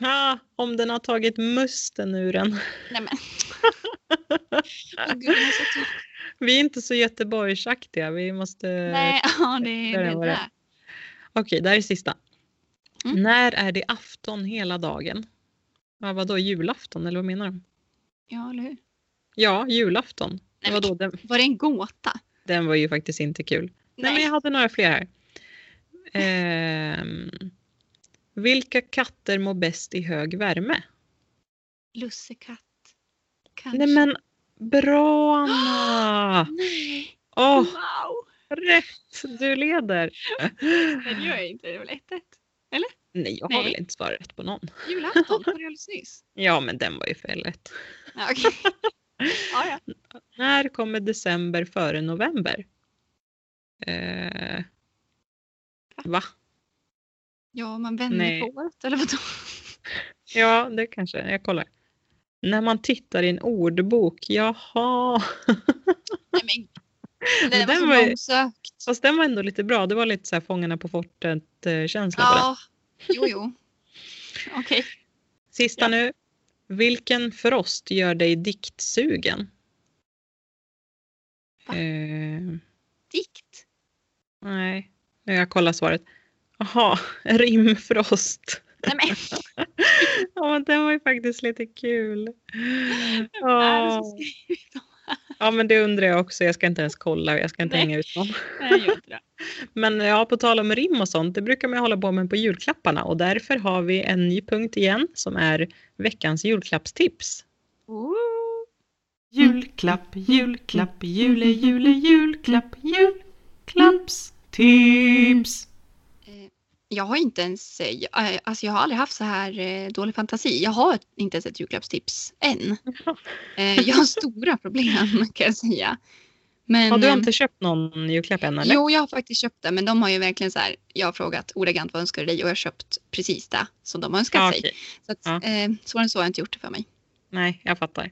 Speaker 1: Ah, om den har tagit musten ur en.
Speaker 2: Nej men. Åh, gud, jag typ- är så trött.
Speaker 1: Vi är inte så göteborgsaktiga. Vi måste...
Speaker 2: Nej, ja, det
Speaker 1: där
Speaker 2: är det
Speaker 1: var
Speaker 2: där.
Speaker 1: det. Okej, där är sista.
Speaker 2: Mm.
Speaker 1: När är det afton hela dagen? Ja, vadå, julafton eller vad menar de?
Speaker 2: Ja, eller hur?
Speaker 1: Ja, julafton.
Speaker 2: Nej, men,
Speaker 1: vadå, den,
Speaker 2: var det en gåta?
Speaker 1: den var ju faktiskt inte kul. Nej, men jag hade några fler här. Ehm, vilka katter mår bäst i hög värme?
Speaker 2: Lussekatt. Kanske.
Speaker 1: Nej men bra Anna!
Speaker 2: Nej.
Speaker 1: Åh,
Speaker 2: Wow!
Speaker 1: rätt! Du leder.
Speaker 2: Men gör jag inte. Det var väl 1-1.
Speaker 1: Nej, jag har
Speaker 2: Nej.
Speaker 1: väl inte svarat rätt på någon.
Speaker 2: Julafton var det alldeles nyss.
Speaker 1: Ja, men den var ju för lätt.
Speaker 2: Ja, okej. ja, ja.
Speaker 1: När kommer december före november? Eh, va?
Speaker 2: ja, man vänder
Speaker 1: Nej.
Speaker 2: på året eller vadå?
Speaker 1: Ja, det kanske. Jag kollar. När man tittar i en ordbok. Jaha.
Speaker 2: Nej, men. Det
Speaker 1: Den
Speaker 2: var så
Speaker 1: var ju-
Speaker 2: långsökt.
Speaker 1: Fast den var ändå lite bra. Det var lite så här Fångarna på fortet-känsla på den.
Speaker 2: Ja, jo, jo. Okej.
Speaker 1: Sista nu. Vilken frost gör dig diktsugen?
Speaker 2: Va?
Speaker 1: Eh,
Speaker 2: Dikt.
Speaker 1: nej, nu har jag kollat svaret. Jaha, rimfrost.
Speaker 2: Nej, men.
Speaker 1: Ja, men den var ju faktiskt lite kul.
Speaker 2: Är det som
Speaker 1: Ja,
Speaker 2: skrivit dem?
Speaker 1: ja, men det undrar jag också. Jag ska inte ens kolla. Jag ska inte
Speaker 2: Nej.
Speaker 1: hänga ut någon.
Speaker 2: Nej, gör inte det.
Speaker 1: Men ja, på tal om rim och sånt, det brukar man ju hålla på med på julklapparna och därför har vi en ny punkt igen som är veckans julklappstips.
Speaker 2: Ooh.
Speaker 3: Julklapp, julklapp, jule, jule, julklapp, julklappstips.
Speaker 2: Eh, Jag har inte ens, eh, jag- eh, alltså jag har aldrig haft så här eh, dålig fantasi. Jag har inte ens ett julklappstips än. Eh, Jag har stora problem kan jag säga. Men,
Speaker 1: Har du
Speaker 2: eh,
Speaker 1: inte köpt någon julklapp än eller?
Speaker 2: Jo, jag har faktiskt köpt det, men de har ju verkligen så här, jag har frågat ordagrant vad önskar du dig och jag har köpt precis det som de önskat
Speaker 1: Ja, Ah,
Speaker 2: sig.
Speaker 1: okej.
Speaker 2: Så att,
Speaker 1: Ja.
Speaker 2: eh, svårare än så har jag inte gjort det för mig.
Speaker 1: Nej, jag fattar.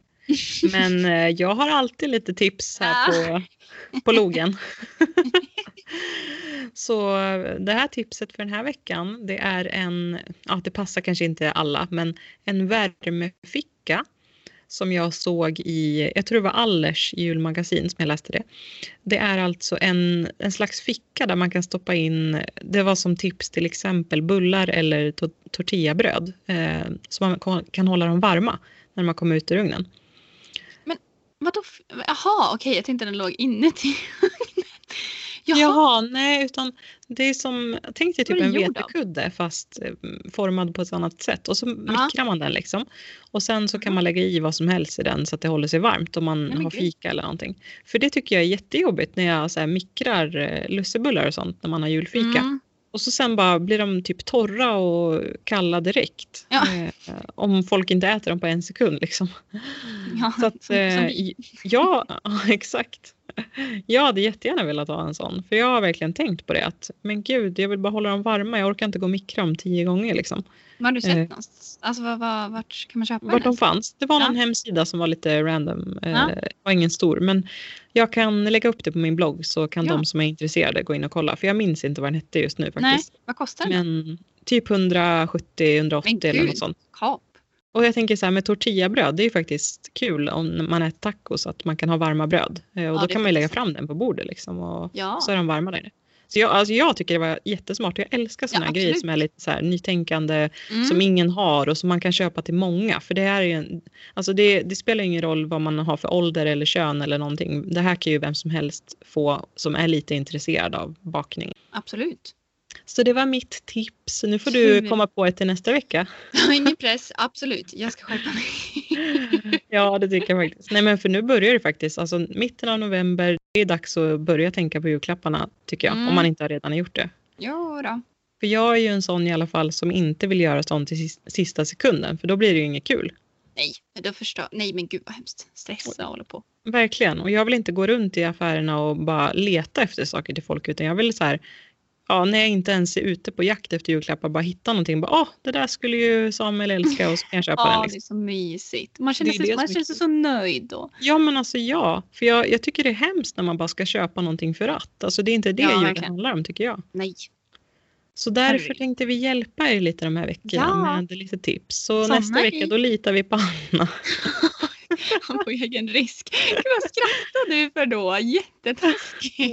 Speaker 1: Men eh, jag har alltid lite tips här på, på logen. Så eh, det här tipset för den här veckan, det är en, ja det passar kanske inte alla, men en värmeficka som jag såg i, jag tror det var Allers julmagasin som jag läste det. Det är alltså en, en slags ficka där man kan stoppa in, det var som tips till exempel bullar eller to- tortillabröd. Eh, så man kan- kan hålla dem varma när man kommer ut ur ugnen.
Speaker 2: Vadå? f- Jaha, okej, jag tänkte den låg inuti ugnen. Jaha,
Speaker 1: Jaha, nej utan det är som, tänk dig
Speaker 2: Vad
Speaker 1: typ
Speaker 2: är
Speaker 1: en
Speaker 2: det gjord av?
Speaker 1: vetekudde fast eh, formad på ett annat sätt och så mikrar man den liksom. Och sen så kan
Speaker 2: Aha.
Speaker 1: man lägga i vad som helst i den så att det håller sig varmt om man
Speaker 2: Nej, men
Speaker 1: har
Speaker 2: gud.
Speaker 1: fika eller någonting. För det tycker jag är jättejobbigt när jag så här, mikrar eh, lussebullar och sånt när man har julfika.
Speaker 2: Mm.
Speaker 1: Och så sen bara blir de typ torra och kalla direkt.
Speaker 2: Ja.
Speaker 1: Eh, om folk inte äter dem på en sekund liksom.
Speaker 2: Ja,
Speaker 1: Så att,
Speaker 2: som- som
Speaker 1: eh,
Speaker 2: vi.
Speaker 1: ja, exakt. Jag hade jättegärna velat ha en sån. För jag har verkligen tänkt på det. Att, men gud, jag vill bara hålla dem varma. Jag orkar inte gå och mikra dem tio gånger. Liksom.
Speaker 2: Vad har du
Speaker 1: eh,
Speaker 2: sett någonstans? Alltså vad, vad, vart kan man köpa
Speaker 1: Vart
Speaker 2: den?
Speaker 1: de
Speaker 2: ens?
Speaker 1: fanns. Det var
Speaker 2: Ja.
Speaker 1: någon hemsida som var lite random. Eh,
Speaker 2: Ja.
Speaker 1: Det var ingen stor. Men jag kan lägga upp det på min blogg. Så kan
Speaker 2: Ja.
Speaker 1: de som är intresserade gå in och kolla. För jag minns inte vad den hette just nu
Speaker 2: Nej,
Speaker 1: faktiskt.
Speaker 2: vad kostar den?
Speaker 1: Men typ 170-180
Speaker 2: Men
Speaker 1: eller något
Speaker 2: gud.
Speaker 1: sånt.
Speaker 2: Kap.
Speaker 1: Och jag tänker så här med tortillabröd, det är ju faktiskt kul om man äter tacos att man kan ha varma bröd. Eh, Och
Speaker 2: Ja,
Speaker 1: då
Speaker 2: det
Speaker 1: kan man ju lägga
Speaker 2: finns.
Speaker 1: fram den på bordet liksom och
Speaker 2: Ja.
Speaker 1: så är de varma där. Så jag, alltså jag tycker det var jättesmart och jag älskar sådana
Speaker 2: Ja,
Speaker 1: grejer
Speaker 2: absolut.
Speaker 1: som är lite så här nytänkande
Speaker 2: Mm.
Speaker 1: som ingen har och som man kan köpa till många. För det här är ju en, alltså det, det spelar ingen roll vad man har för ålder eller kön eller någonting. Det här kan ju vem som helst få som är lite intresserad av bakning.
Speaker 2: Absolut.
Speaker 1: Så det var mitt tips. Nu får du
Speaker 2: Kul.
Speaker 1: komma på ett till nästa vecka.
Speaker 2: Ingen press, absolut. Jag ska skärpa mig.
Speaker 1: Ja, det tycker jag faktiskt. Nej, men för nu börjar det faktiskt. Alltså mitten av november, det är dags att börja tänka på julklapparna tycker jag. Om
Speaker 2: Mm.
Speaker 1: man inte har redan gjort det.
Speaker 2: Jo då.
Speaker 1: För jag är ju en sån i alla fall som inte vill göra sånt till sis- sista sekunden. För då blir det ju inget kul.
Speaker 2: Nej, då förstår. Nej men gud vad hemskt. Stressa och hålla på.
Speaker 1: Verkligen. Och jag vill inte gå runt i affärerna och bara leta efter saker till folk. Utan jag vill så här, ja, när jag inte ens är ute på jakt efter julklappar, bara hitta någonting. Bara, åh, det där skulle ju Samuel älska och så kan jag köpa den.
Speaker 2: Ja,
Speaker 1: Liksom.
Speaker 2: det är så mysigt. Man känner
Speaker 1: Det är
Speaker 2: sig,
Speaker 1: det
Speaker 2: man
Speaker 1: som är
Speaker 2: känner sig så nöjd då.
Speaker 1: Ja men alltså ja, för jag, jag tycker det är hemskt när man bara ska köpa någonting för att. Alltså det är inte det
Speaker 2: Ja,
Speaker 1: julen
Speaker 2: verkligen.
Speaker 1: handlar om tycker jag.
Speaker 2: Nej.
Speaker 1: Så därför
Speaker 2: Herregud.
Speaker 1: tänkte vi hjälpa er lite de här veckorna
Speaker 2: Ja.
Speaker 1: med lite tips. Så
Speaker 2: Såna
Speaker 1: nästa vecka
Speaker 2: grejer.
Speaker 1: då litar vi på Anna.
Speaker 2: På egen risk. Gud vad skrattade du för då? Jättetaskigt.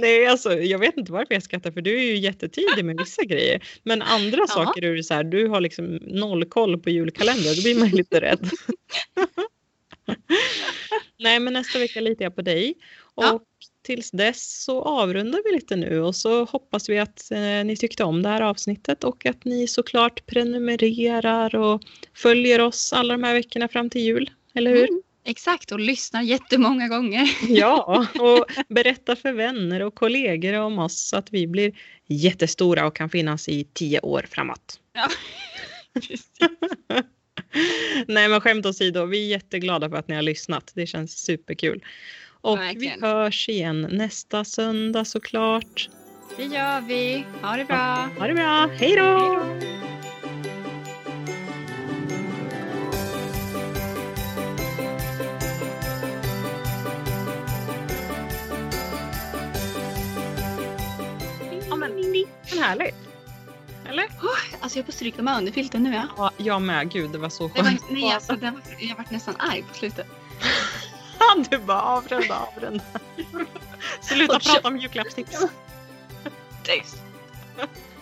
Speaker 1: Nej alltså jag vet inte varför jag skrattar för du är ju jättetidig med vissa grejer. Men andra saker är du så här, du har liksom noll koll på julkalendern. Då blir man ju lite rädd. Nej men nästa vecka litar jag på dig. Och
Speaker 2: Ja.
Speaker 1: tills dess så avrundar vi lite nu och så hoppas vi att eh, ni tyckte om det här avsnittet och att ni såklart prenumererar och följer oss alla de här veckorna fram till jul. Eller hur?
Speaker 2: Mm, Exakt, och lyssnar jättemånga gånger.
Speaker 1: Ja, och berätta för vänner och kollegor om oss så att vi blir jättestora och kan finnas i tio år framåt.
Speaker 2: Precis.
Speaker 1: Nej men skämt åsido, vi är jätteglada för att ni har lyssnat. Det känns superkul. Och
Speaker 2: Verkligen.
Speaker 1: vi hörs igen nästa söndag såklart.
Speaker 2: Det gör vi. Ha det bra.
Speaker 1: Ha det bra, hej då!
Speaker 2: Hej då.
Speaker 1: Ja, men, men härligt. Eller?
Speaker 2: Alltså jag är på stryk med underfilten nu. Ja.
Speaker 1: Ja, jag med. Gud, det var så
Speaker 2: Det
Speaker 1: skönt.
Speaker 2: var, nej, alltså, det var, jag vart nästan arg på slutet.
Speaker 1: Du bara avrunda, avrunda. Sluta
Speaker 2: Och
Speaker 1: prata om julklappstips.
Speaker 2: Tyst.